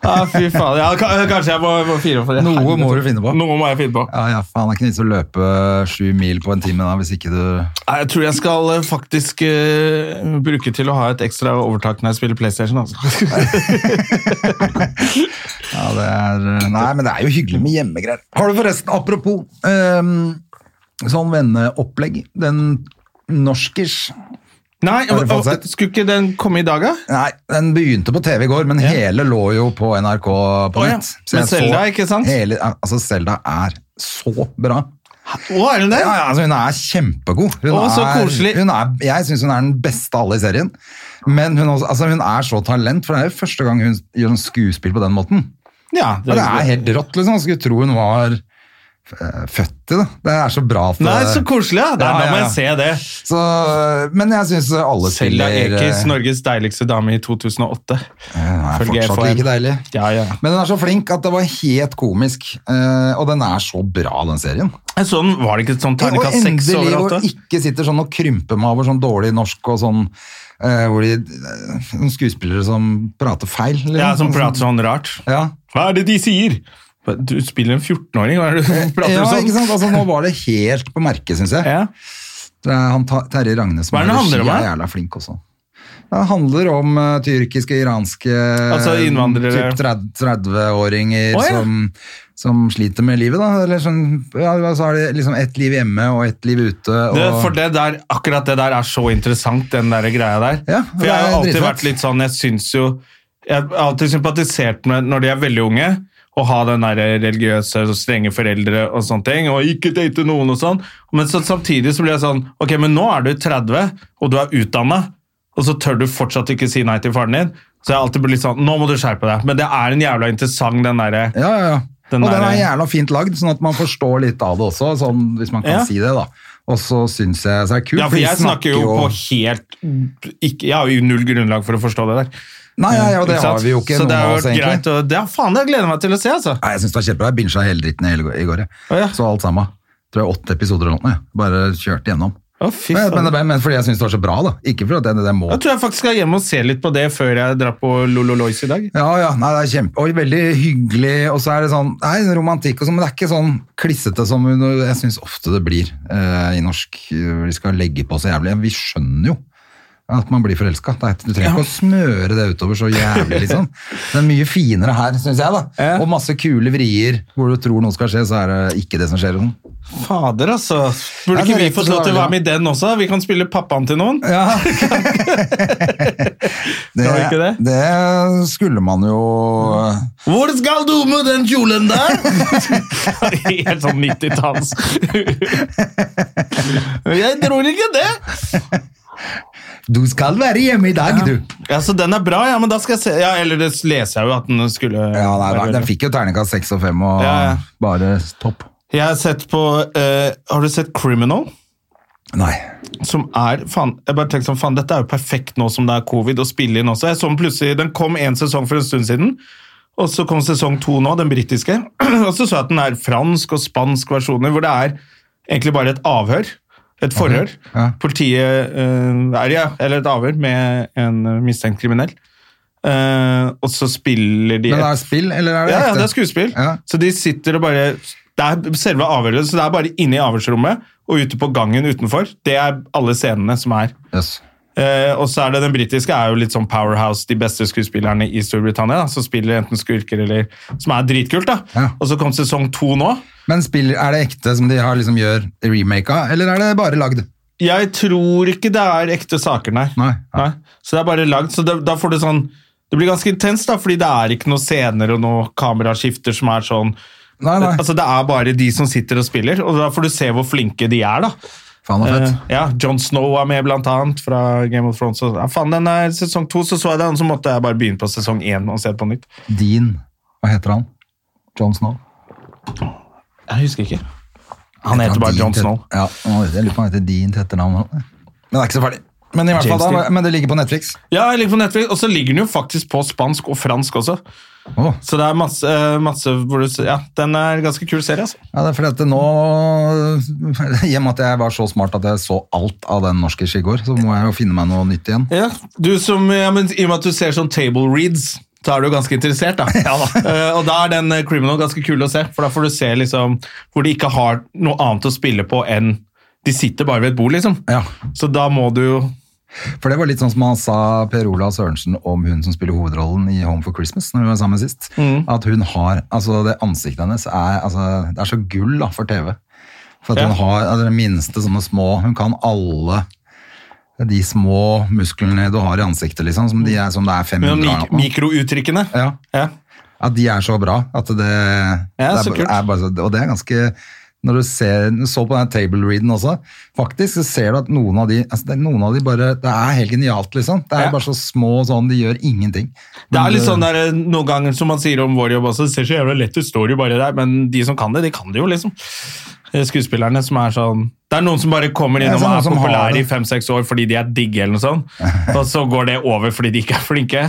Ah, fy faen. Ja, ka- kanskje jeg må, må fire opp for det.
Noe må
Helvete.
du finne på.
Noe må jeg finne på.
Ja, ja, faen, det er ikke nytt å løpe sju mil på en time da, hvis ikke du...
Nei, Jeg tror jeg skal eh, faktisk eh, bruke til å ha et ekstra overtak når jeg spiller PlayStation. Altså.
Ja, det er... Nei, men det er jo hyggelig med hjemmegreier. Har du forresten, apropos, ehm, sånn venneopplegg, den norskers...
Nei, og-
Har du
og-
fått sett?
Skulle ikke den komme i dag, da?
Nei, den begynte på TV i går, men hele lå jo på NRK på
Å, ja.
nett. Så
Men
jeg så
Zelda, ikke sant?
Hele, altså, Selda er så bra.
Å, er den det?
Ja, ja, altså hun er kjempegod. Hun
Å, så koselig.
Er, hun er, jeg syns hun er den beste av alle i serien. Men hun, også, altså hun er så talent, for det er jo første gang hun gjør en skuespill på den måten.
Ja,
Og det er helt rått, liksom. Man skulle tro hun var eh, født i. Da. Det er så bra at
Nei, så koselig! Ja. Nei,
Ja,
Da
ja,
må
ja.
jeg se det.
Så, eh, men jeg syns alle
Selja
spiller
Ekiz,
eh,
Norges deiligste dame i 2008.
Hun er
Følger
fortsatt
FHM.
like deilig.
Ja, ja.
Men den er så flink at det var helt komisk. eh, og den er så bra, den serien.
En sånn, var det ikke sånn
Og
terningkast seks
endelig
over
hvor
åtte?
ikke sitter sånn og krymper meg over sånn dårlig norsk og sånn eh, hvor de, eh, Noen skuespillere som prater feil. eller
Ja,
noe
som
sånt.
prater sånn rart.
Ja.
Hva er det de sier? Du spiller en 14-åring, hva er det du prater
Eh, ja,
sånn?
ikke sant? Altså, nå var det helt på merket, syns jeg.
Ja.
Det er han Ta- Terje Ragnes som
Hva er det
har
det handler
regi,
om,
er
da?
jævla flink også. Det handler om eh, tyrkiske, iranske
Altså innvandrere.
Typ 30 30-åringer
Å, ja.
som, som sliter med livet, da. Eller sånn, ja, så har de liksom ett liv hjemme og ett liv ute. Og,
Det, for det der, akkurat det der er så interessant, den der greia der.
Ja,
for jeg har
det er
jo alltid
dritfett.
vært litt sånn, jeg syns jo Jeg har alltid sympatisert med, når de er veldig unge, å ha den der religiøse og strenge foreldre og sånne ting, og ikke date noen og sånn. Men så, samtidig så blir jeg sånn Ok, men nå er du 30, og du er utdanna, og så tør du fortsatt ikke si nei til faren din. Så jeg har alltid blitt sånn Nå må du skjerpe deg. Men det er en jævla interessant, den derre
Ja, ja, ja.
Den
og
der-
den er jævla fint lagd, sånn at man forstår litt av det også, sånn, hvis man kan
Ja.
si det. da. Og så syns jeg så er det kult.
Ja, for
for de
jeg snakker jo på helt ikke, Jeg har jo null grunnlag for å forstå det der.
Nei, ja, ja, det
Ikke sant?
har vi jo ikke
Så
noen
det
av
har
oss,
vært
egentlig.
greit. Og, ja, faen, jeg gleder meg til å se, altså.
Nei, jeg syns det var kjempebra. Jeg bincha hele dritten i hele- i går. jeg.
Å, ja.
Så alt sammen. Tror jeg åtte episoder eller noe. jeg. Bare kjørte gjennom.
Å, fy
Men, men,
faen.
men, men fordi jeg syns det var så bra, da. Ikke fordi det, det må
Jeg tror jeg faktisk skal hjem og se litt på det før jeg drar på Lololois i dag.
Ja, ja, nei, det er kjempe Og veldig hyggelig, og så er det sånn Nei, romantikk og sånn, men det er ikke sånn klissete som hun- jeg syns ofte det blir eh, i norsk. eh, De skal legge på så jævlig. Vi skjønner jo at man blir forelska. Det er- Du trenger ikke å smøre det utover så jævlig, liksom. Det er mye finere her, syns jeg, da.
Ja.
Og masse kule vrier hvor du tror noe skal skje, så er det ikke det som skjer. og Sånn.
Fader, altså. Burde
Ja,
ikke
det er
vi fått
rett og
lov til å
slett,
være med i den også? Vi kan spille pappaen til noen.
Ja.
Skal vi ikke det?
det skulle man jo
Hvor skal du med den kjolen der? Helt sånn 90-talls. jeg tror ikke det.
Du skal være hjemme i dag, du!
Ja, så den er bra, ja, men da skal jeg se. Ja, eller det leser jeg jo at den skulle
Ja, nei,
være
nei, Den fikk jo terningkast seks og fem, og
Ja, ja.
bare topp.
Jeg har sett på eh, Har du sett Criminal?
Nei.
Som er faen, Jeg bare tenkte sånn, faen, dette er jo perfekt nå som det er covid, å spille inn også. Jeg så den plutselig Den kom én sesong for en stund siden, og så kom sesong to nå, den britiske. Og så så jeg at den er fransk og spansk versjoner, hvor det er egentlig bare et avhør. Et forhør.
ja.
Politiet eh, er ja, eller et avhør med en eh, mistenkt kriminell. Eh, og så spiller de
Men
et-
er det spill, eller er det
Ja, ja,
ekte?
det er skuespill.
Ja.
Så de sitter og bare Det er selve avhøret, så det er bare inne i avhørsrommet og ute på gangen utenfor. Det er alle scenene som er.
Yes.
Eh, og så er det den britiske er jo litt sånn powerhouse, de beste skuespillerne i Storbritannia, da, som spiller enten skurker eller Som er dritkult, da.
Ja.
Og så kom sesong to nå.
Men spill, er det ekte som de har liksom gjør remake av, eller er det bare lagd?
Jeg tror ikke det er ekte saker, nei.
Nei, ja.
Så det er bare lagd. Så det, da får du sånn Det blir ganske intenst, da, fordi det er ikke noe scener og noe kameraskifter som er sånn
Nei, nei.
Altså, det er bare de som sitter og spiller, og da får du se hvor flinke de er, da.
Faen og fett.
Eh, ja, John Snow er med, blant annet, fra Game of Thrones. Og, ja, faen, den er sesong to, så så jeg den, så måtte jeg bare begynne på sesong én og se på nytt.
Dean, hva heter han? John Snow?
Jeg husker ikke. Han heter bare
Dean
John
til-
Snow.
Ja, han heter- jeg lurer på om han heter Dean til etternavn. eller noe. Men det er ikke så farlig. Men, i hvert fall,
James
da,
Dean.
men det ligger på Netflix.
Ja, jeg ligger på Netflix, og så ligger den jo faktisk på spansk og fransk også.
Åh.
Så det er masse, eh, masse hvor du, s- Ja, den er en ganske kul serie, altså.
Ja, det er fordi at nå, i og med at jeg var så smart at jeg så alt av den norske i går, så må jeg jo finne meg noe nytt igjen.
Ja, du som, ja, men I og med at du ser sånn table reads, så er du jo ganske interessert. da. Eh, og da er den eh, criminal ganske kul å se, for da får du se liksom, hvor de ikke har noe annet å spille på enn De sitter bare ved et bord, liksom.
Ja,
Så da må du jo
For det var litt sånn som han sa Per Olav Sørensen om hun som spiller hovedrollen i Home for Christmas, når vi var sammen sist. At hun har Altså, det ansiktet hennes er altså, Det er så gull da, for TV. For at
Ja.
hun har altså, det minste sånne små Hun kan alle de små musklene du har i ansiktet, liksom. Som, de er, som det er
med
500 av.
mik Mikrouttrykkene.
Ja,
Ja.
At de er så bra. At det,
Ja,
det er,
så
ba-
kult.
er bare så, Og det er ganske Når du ser, så på den table readen også, faktisk så ser du at noen av de, altså det, er noen av de bare, det er helt genialt, liksom. Det er
Ja.
bare så små sånn, de gjør ingenting.
Det er litt sånn der, eh, Noen ganger som man sier om vår jobb også, det ser så jævla lett ut, står jo bare der, men de som kan det, de kan det jo, liksom. Eh, Skuespillerne som er sånn Det er noen som bare kommer inn
Ja,
og
sånn noen
er
som har
populære i
det.
fem-seks år fordi de er digge, eller noe sånt, og så går det over fordi de ikke er flinke.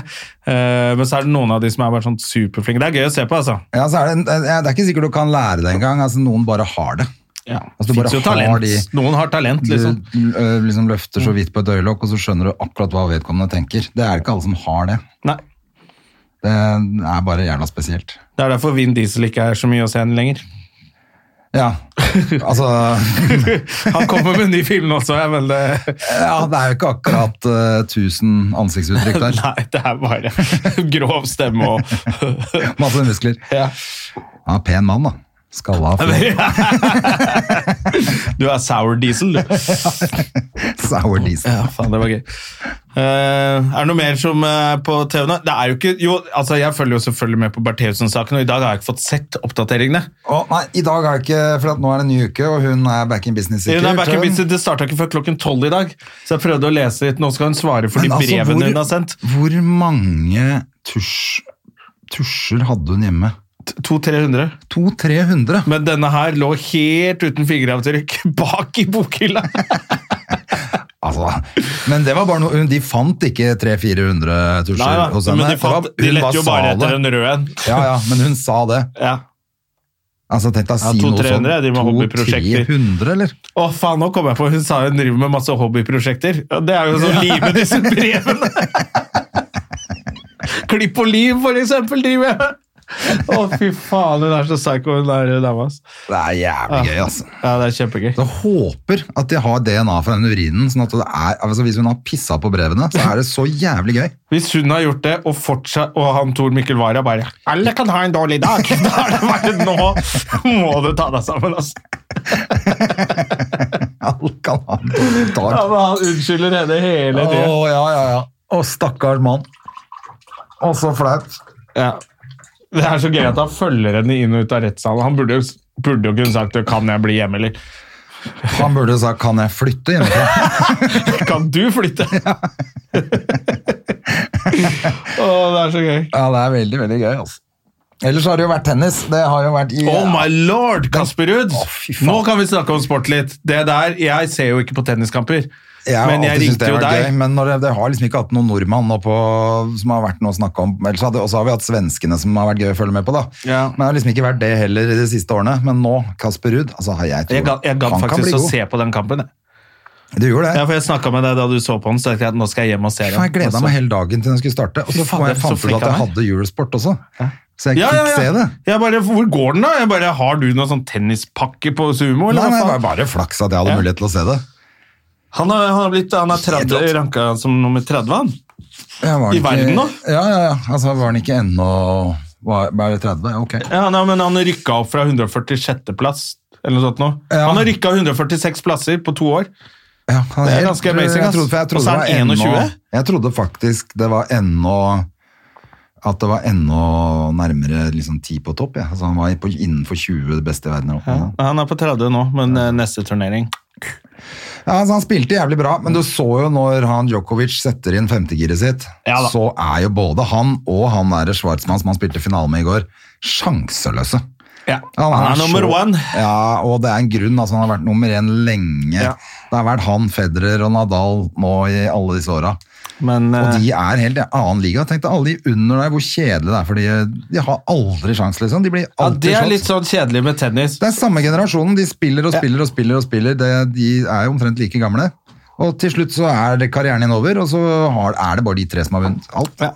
Eh, Men så er det noen av de som er bare sånn superflinke. Det er gøy å se på, altså.
Ja, så er det, det er ikke sikkert du kan lære det engang, altså noen bare har det.
Ja.
Altså, du
Finnes
bare
jo
har
talent.
de-
Noen har talent,
Du
liksom.
øh, liksom løfter
Mm.
så vidt på et øyelokk, og så skjønner du akkurat hva vedkommende tenker. Det er ikke alle som har det.
Nei.
Det er bare jævla spesielt.
Det er derfor Vin Diesel ikke er så mye å se lenger.
Ja, altså
Han kommer med en ny film også, jeg, men det
ja, Det er jo ikke akkurat øh, 1000 ansiktsuttrykk der.
Nei, det er bare grov stemme og
Masse muskler.
Ja.
Han er pen mann, da. Skalla fyr.
Du er sour diesel, du.
Sour diesel.
Ja, faen, det var gøy. Eh, er det noe mer som eh, på TV nå? Det er jo ikke Jo, altså, jeg følger jo selvfølgelig med på Bertheussen-saken, og i dag har jeg ikke fått sett oppdateringene.
Å, nei, I dag er det ikke For at nå er det en ny uke, og hun er back in business.
Hun er back in
Hun-
business, Det starta ikke før klokken tolv i dag, så jeg prøvde å lese litt. Nå skal hun svare for de
Men altså,
brevene
hvor-
hun har sendt.
Hvor mange tusj, tusjer hadde hun hjemme?
200-300.
200-300?
Men denne her lå helt uten fingeravtrykk bak i bokhylla!
Altså, men det var bare noe, hun- de fant ikke 300-400 tusjer
Nei, da,
hos henne.
men de,
Det var-
fant, de
hun
lette jo
sa
bare
det.
etter en rød en.
Ja, ja, men hun sa det.
Ja.
Altså, tenk deg å
Ja,
si noe
200-300,
sånn.
de må ha hobbyprosjekter.
200-300, eller?
Å faen, nå kom jeg på, hun sa hun driver med masse hobbyprosjekter. Ja, det er jo sånn limet disse brevene! Klipp og lim, for eksempel, driver jeg med! Å fy faen, hun er så psycho, hun der dama. ass.
Det er jævlig gøy, altså.
Ja, det er kjempegøy.
Så jeg håper at de har DNA fra den urinen, sånn at det er, altså hvis hun har pissa på brevene, så er det så jævlig gøy.
Hvis hun har gjort det, og, fortsatt, og han Tor Mikkel Wara bare 'Alle kan ha en dårlig dag!' Da er det bare Nå må du ta deg sammen, altså.
Alle kan ha en dårlig
Ja,
dag.
men han unnskylder henne hele
Å,
tida.
ja, ja, ja. Å, stakkars mann. Å, så flaut.
Ja. Det er så gøy at han følger henne inn og ut av rettssalen. Han burde jo, burde jo kunne sagt 'Kan jeg bli hjemme', eller
Han burde jo sagt 'kan jeg flytte hjemmefra'?
Kan du flytte? Å, det er så gøy.
Ja, det er veldig, veldig gøy, altså. Ellers har det jo vært tennis. Det har jo vært i
Oh my lord, Kasper Ruud!
Å, fy faen.
Nå kan vi snakke om sport litt. Det der, Jeg ser jo ikke på tenniskamper,
Jeg har
men jeg
alltid syntes
ringte
det
jo
har vært
deg.
Gøy, men når det, det har liksom ikke hatt noen nordmann nå på, som har vært noe å snakke om. Ellers hadde, og så har vi hatt svenskene som har vært gøy å følge med på, da.
Ja.
Men det har liksom ikke vært det heller i de siste årene. Men nå, Kasper Ruud altså, jeg tror
Jeg gadd jeg gadd
han kan bli
faktisk å
god.
se på den kampen. jeg.
Du gjorde det?
Ja, for Jeg snakka med deg da du så på den, så tenkte jeg at nå skal jeg hjem og se den. Altså.
Faen, jeg gleda
Og så-
meg hele dagen til den skulle starte, og
Fy
så
faen,
fant jeg
så
fant ut
flink
at jeg
han er.
hadde julesport også. Så jeg
ja, ja,
fikk
ja.
se det.
Jeg bare, Hvor går den, da? Jeg bare, Har du noen sånn tennispakke på sumo?
Nei,
Eller? hva
nei, det
faen?
var bare flaks at jeg hadde
Ja.
mulighet til å se det.
Han, har, han, har blitt, han er 30, ranka som nummer 30, han.
Jeg var
I
ikke-
verden nå?
Ja, ja, ja. Altså, var han ikke ennå var, Bare 30? Ja, Ok.
Ja, nei, men han rykka opp fra 146. plass. Eller noe sånt nå.
Ja.
Han har rykka 146 plasser på to år.
Ja, han
Det er
helt-
ganske amazing,
Jeg
ass.
trodde, for jeg trodde
Og så er
det
han
var ennå-
21.
Jeg trodde faktisk det var ennå At det var enda nærmere liksom, 10 på topp. Ja. Altså, han var på, innenfor 20 det beste i verden. eller noe.
Han er på 30 nå, men eh, neste turnering
Ja, altså, han spilte jævlig bra, men du så jo når han Djokovic setter inn femtegiret sitt,
Ja da.
så er jo både han og han der Schwartzmann som han spilte finale med i går, sjanseløse.
ja.
Ja,
Han er nummer
så-
one.
Ja, og det er en grunn. Altså, han har vært nummer én lenge.
Ja.
Det har vært han, Federer og Nadal nå i alle disse åra.
Men eh,
Og de er helt i en annen liga. Tenk deg alle de under der, hvor kjedelig det er. For de, de har aldri sjans, liksom. De blir
ja,
alltid
det er
slått.
litt sånn kjedelig med tennis.
Det er samme generasjonen. De spiller og spiller og spiller. og spiller. Det, de er jo omtrent like gamle. Og til slutt så er det karrieren din over, og så har, er det bare de tre som har vunnet alt.
Ja.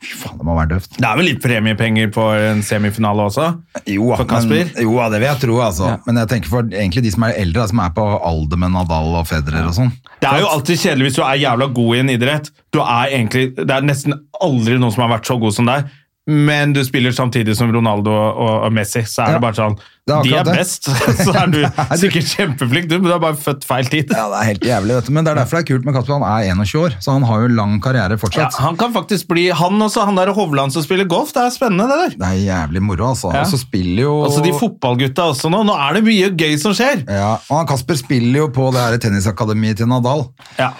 Fy faen, det må være døvt.
Det er vel litt premiepenger på en semifinale også?
Jo,
For Kasper?
Men, jo, ja, det vil jeg tro, altså. Men jeg tenker for egentlig de som er eldre, da, som er på alder med Nadal og Federer og sånn.
Det er jo alltid kjedelig hvis du er jævla god i en idrett. Du er egentlig, Det er nesten aldri noen som har vært så god som deg. men du spiller samtidig som Ronaldo og, og Messi, så er
Ja.
det bare sånn
Det er
De
akkurat
er
det.
best, så er du sikkert kjempeflink, du, men du er bare født feil tid.
Ja, det er helt jævlig, vet du. Men det er derfor det er kult med Kasper. Han er 21 år, så han har jo lang karriere
Ja,
fortsatt.
han kan faktisk bli han også, han der Hovland som spiller golf. Det er spennende, det der.
Det er jævlig moro, altså.
Ja.
Og så spiller jo
Altså De fotballgutta også nå. Nå er det mye gøy som skjer!
ja, og han Kasper spiller jo på det her tennisakademiet til Nadal,
Ja.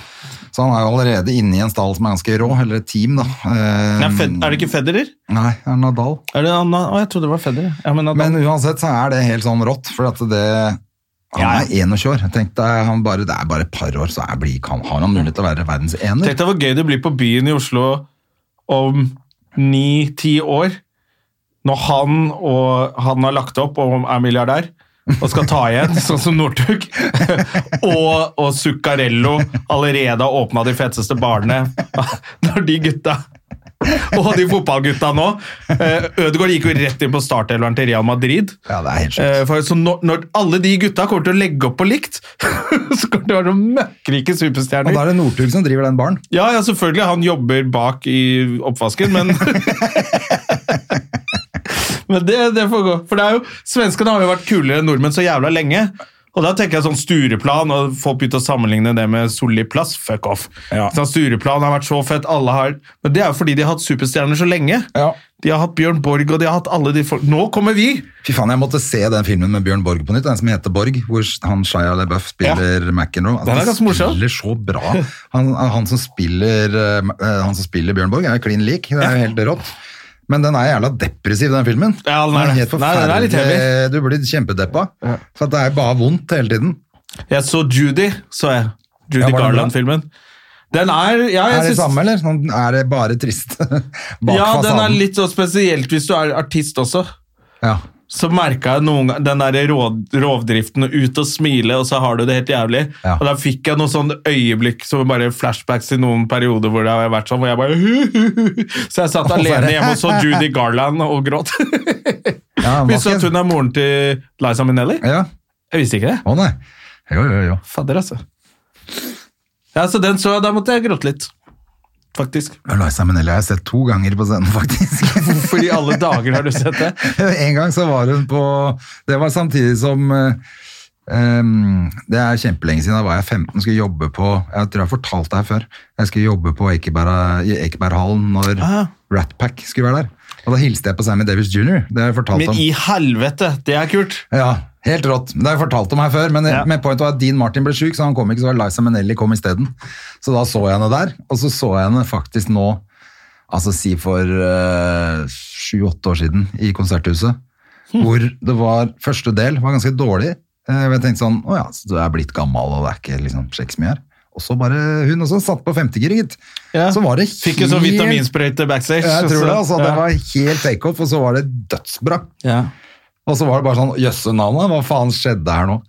så han er jo allerede inne i en stall som er ganske rå, eller et team, da. Eh,
Nei, Fed, er det ikke Federer?
Nei, det er Nadal.
Er det, han, å, jeg trodde det var Federer. Ja, men, Nadal-
Men uansett så er det helt sånn rått, for at det han
Ja,
er 21 år. Jeg tenkte, han bare, Det er bare et par år, så er blir, kan, har han mulighet til å være verdens ener.
Tenk deg hvor gøy det blir på byen i Oslo om ni-ti år, når han og han har lagt opp og er milliardær, og skal ta igjen, sånn som Northug. og, og Zuccarello allerede har åpna de feteste barene. Når de gutta og de fotballgutta nå eh, Ødegaard gikk jo rett inn på startelveren til Real Madrid.
Ja, det er helt sjukt.
Eh, For, så når, når alle de gutta kommer til å legge opp på likt, så kommer det til å være noen møkkrike
Og
superstjerner.
da er det Northug som driver den baren.
Ja, ja, selvfølgelig. Han jobber bak i oppvasken, men Men det, det får gå. For det er jo, svenskene har jo vært kulere enn nordmenn så jævla lenge. Og da tenker jeg sånn Stureplan, og folk begynte å sammenligne det med Solli plass. Fuck off.
Ja.
Sånn, Stureplan har vært så fett, alle har Men det er jo fordi de har hatt superstjerner så lenge.
Ja.
De har hatt Bjørn Borg, og de har hatt alle de folk Nå kommer vi!
Fy faen, jeg måtte se den filmen med Bjørn Borg på nytt, den som heter Borg, hvor han Shia LaBeouf spiller McEnroe.
Den er ganske morsom.
Han spiller så bra. Han, han, som spiller, eh, han som spiller Bjørn Borg er klin lik, det er jo helt rått. Men den er jævla depressiv, den filmen.
Ja, den er det.
helt
Nei, den er litt
forferdelig. Du blir kjempedeppa. For at det er bare vondt hele tiden.
Jeg så Judy, så jeg. Judy
Ja, var den bra?
Garland-filmen. Den er ja, jeg
Er det
synes-
samme, eller? Sånn, Er det bare trist bak
Ja, den er
fasaden?
litt så spesielt hvis du er artist også.
Ja.
Så merka jeg noen gang den der rå, rovdriften ut og smile, og så har du det helt jævlig.
Ja.
Og da fikk jeg noen sånne øyeblikk som bare flashbacks til noen perioder hvor det har vært sånn, hvor jeg bare hu, hu, hu. Så jeg satt
Å,
alene
bare-
hjemme og så Judy Garland og gråt.
ja den var
Visste du at
ikke-
hun er moren til Liza Minnelli?
Ja.
Jeg visste ikke det.
Å nei. Jo, jo, jo.
Fadder, altså. Ja, så den så jeg, da måtte jeg gråte litt. Faktisk.
Liza Minnelli har jeg sett to ganger på scenen, faktisk.
Hvorfor i alle dager har du sett det?
En gang så var hun på Det var samtidig som eh, em, Det er kjempelenge siden. Da var jeg 15 skulle jobbe på Jeg tror jeg fortalte deg før. Jeg skulle jobbe på Ekeberg, i Ekeberghallen når
Ah.
Rat Pack skulle være der. Og da hilste jeg på Sammy Davis jr. Det har jeg fortalt
Men
om.
i helvete, det er kult.
Ja, helt rått. Det har jeg fortalt om her før, men
Ja.
men pointet var at Dean Martin ble syk, så han kom ikke, så var Liza Minnelli kom isteden. Så da så jeg henne der, og så så jeg henne faktisk nå, altså si for eh, sju-åtte år siden, i konserthuset,
Hm.
hvor det var, første del var ganske dårlig. Eh, og Jeg tenkte sånn, åja, så du er blitt gammel, og det er ikke liksom, skjer ikke så mye her. Og så bare, hun også satt på femtegir, gitt.
Ja.
Så var det
Fikk jo sånn vitaminsprøyte backstage.
Ja, Jeg tror det,
så-
altså. Det
ja.
var helt take-off, og så var det dødsbra.
Ja.
Og så var det bare sånn, jøsse navnet, hva faen skjedde her nå?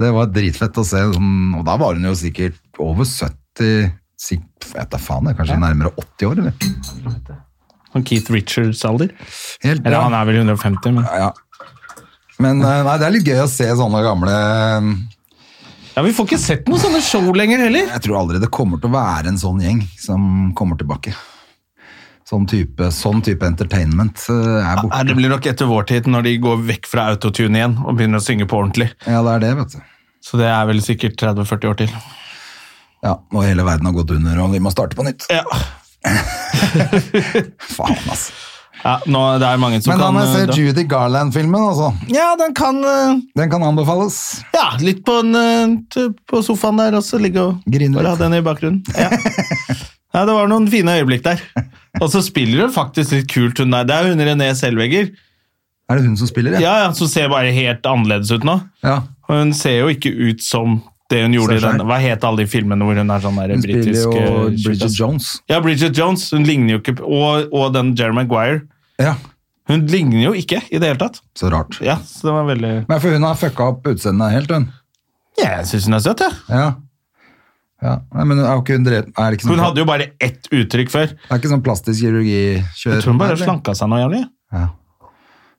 Det var dritfett å se, sånn, og da var hun jo sikkert over 70, sikk- jeg vet da faen, jeg, kanskje nærmere 80 år, eller?
Sånn Keith Richards-alder.
Helt
Eller
bra.
han er vel 150, men
Ja, ja. Men eh, nei, det er litt gøy å se sånne gamle,
Ja, Vi får ikke sett noen sånne show lenger heller.
jeg tror aldri det kommer til å være en sånn gjeng som kommer tilbake. Sånn type, sånn type entertainment eh, er
Nei,
borte.
Det blir nok etter vår tid, når de går vekk fra autotune igjen og begynner å synge på ordentlig.
Ja, det er det, vet du.
Så det er vel sikkert 30-40 år til.
Ja, og hele verden har gått under, og vi må starte på nytt.
Ja,
Faen, ass.
ja nå, Det er mange som
Men
kan
han har
eh,
sett
da-
Judy Garland-filmen, altså.
Ja, den kan eh,
Den kan anbefales.
Ja, litt på, en, eh, t- på sofaen der, og så ligge og
Grine
bare
litt.
ha den i bakgrunnen. Ja. ja, det var noen fine øyeblikk der. Og så spiller hun faktisk litt kult, hun der. Det er hun René Selvegger.
Er det hun som spiller,
Ja, ja, Som ser bare helt annerledes ut nå.
Ja.
Og hun ser jo ikke ut som det hun gjorde i
Ser seg.
den Hva het alle de filmene hvor hun er sånn der
Hun spiller
britisk
jo
eh,
Bridget
tjukkas?
Jones.
Ja, Bridget Jones. Hun ligner jo ikke på- Og, og den Jerry Maguire.
Ja,
Hun ligner jo ikke i det hele tatt.
så rart.
Ja, så det var veldig
Men for hun har fucka opp utseendet helt, hun.
Ja, Jeg syns hun er søt, jeg. Ja.
Ja. ja. Nei, men er jo ikke hun drev... Er det ikke sånn,
Hun hadde jo bare ett uttrykk før.
Det er ikke sånn plastisk kirurgi-kjør?
Jeg tror hun bare
Nei,
slanka seg noe jævlig.
Ja.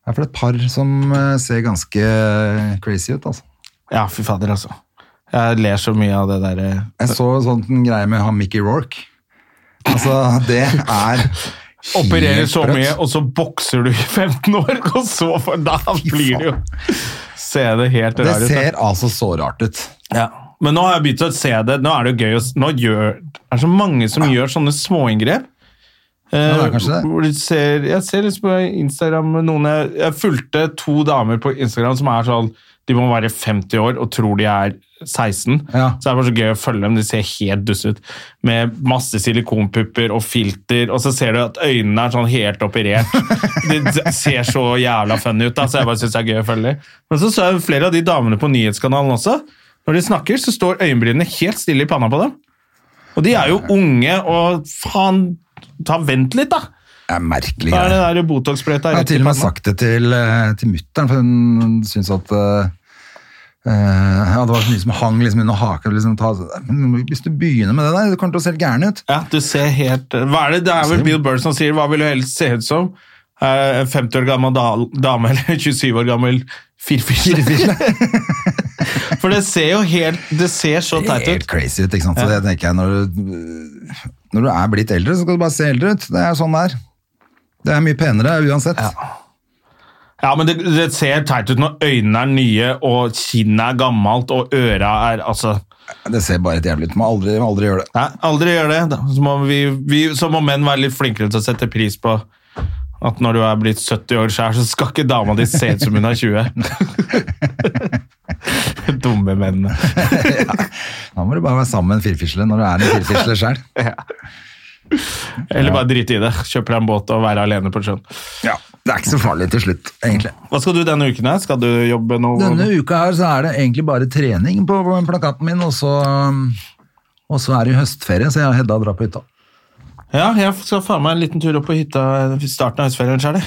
Det er for et par som eh, ser ganske crazy ut, altså.
Ja, fy fader, altså. Jeg ler så mye av det eh, derre
Jeg så sånn en greie med han Mickey Rourke. Altså, det er
Opererer
Helt
så
sprøtt.
mye, og så bokser du i 15 år, og så for, Da blir det jo Se det helt
Det
rart ut. da.
ser altså så rart ut.
Ja. Men nå har jeg begynt å se det. Nå er det jo gøy å s- Nå gjør Det er så mange som gjør sånne småinngrep.
Ja, det
Eh,
er kanskje det.
hvor de ser, jeg ser liksom på Instagram med noen jeg, jeg fulgte to damer på Instagram som er sånn De må være 50 år og tror de er 16.
Ja.
Så det er bare så gøy å følge dem. De ser helt duste ut. Med masse silikonpupper og filter, og så ser du at øynene er sånn helt operert. De d- ser så jævla funny ut, da, så jeg bare syns det er gøy å følge dem. Men så så jeg flere av de damene på nyhetskanalen også. Når de snakker, så står øyenbrynene helt stille i panna på dem. Og de er jo unge, og faen Ta Vent litt, da!
Det er merkelig.
Da er
greier.
det der Botox-sprøyta
Jeg har
rett i
til og med
panna.
sagt det til, eh, til mutter'n, for hun syns at eh, eh, ja, Det var så mye som hang liksom under haka. Liksom, ta, men hvis du begynner med det der, du kommer til å se helt gæren ut.
Ja, du ser helt Hva er det? Det er vel Bill Burr som sier Hva vil du helst se ut som? Eh, En 50 år gammel da- dame eller 27 år gammel firfisle? For det ser jo helt Det ser så
Det
teit
er helt
ut.
crazy ut, ikke sant. Så det tenker jeg, når du, når du er blitt eldre, så skal du bare se eldre ut. Det er sånn det er. Det er mye penere uansett.
Ja, men det, det ser teit ut når øynene er nye, og kinnet er gammelt, og øra er Altså
Det ser bare helt jævlig ut. Må aldri, må aldri gjøre det.
Nei, aldri gjør det. da. Så må, vi, vi, så må menn være litt flinkere til å sette pris på at når du er blitt 70 år sjøl, så skal ikke dama di se ut som hun er 20. Dumme mennene.
Da må du bare være sammen med en firfisle når du er en firfisle sjøl.
Eller bare drite i det. Kjøpe deg en båt og være alene på sjøen.
Ja. Det er ikke så farlig til slutt, egentlig.
Hva skal du denne uken? her? Skal du jobbe noe?
Denne uka her så er det egentlig bare trening på plakaten min, og så, um, og så er det høstferie, så jeg og Hedda drar på hytta.
Ja, jeg skal faen meg en liten tur opp på hytta i starten av høstferien sjøl.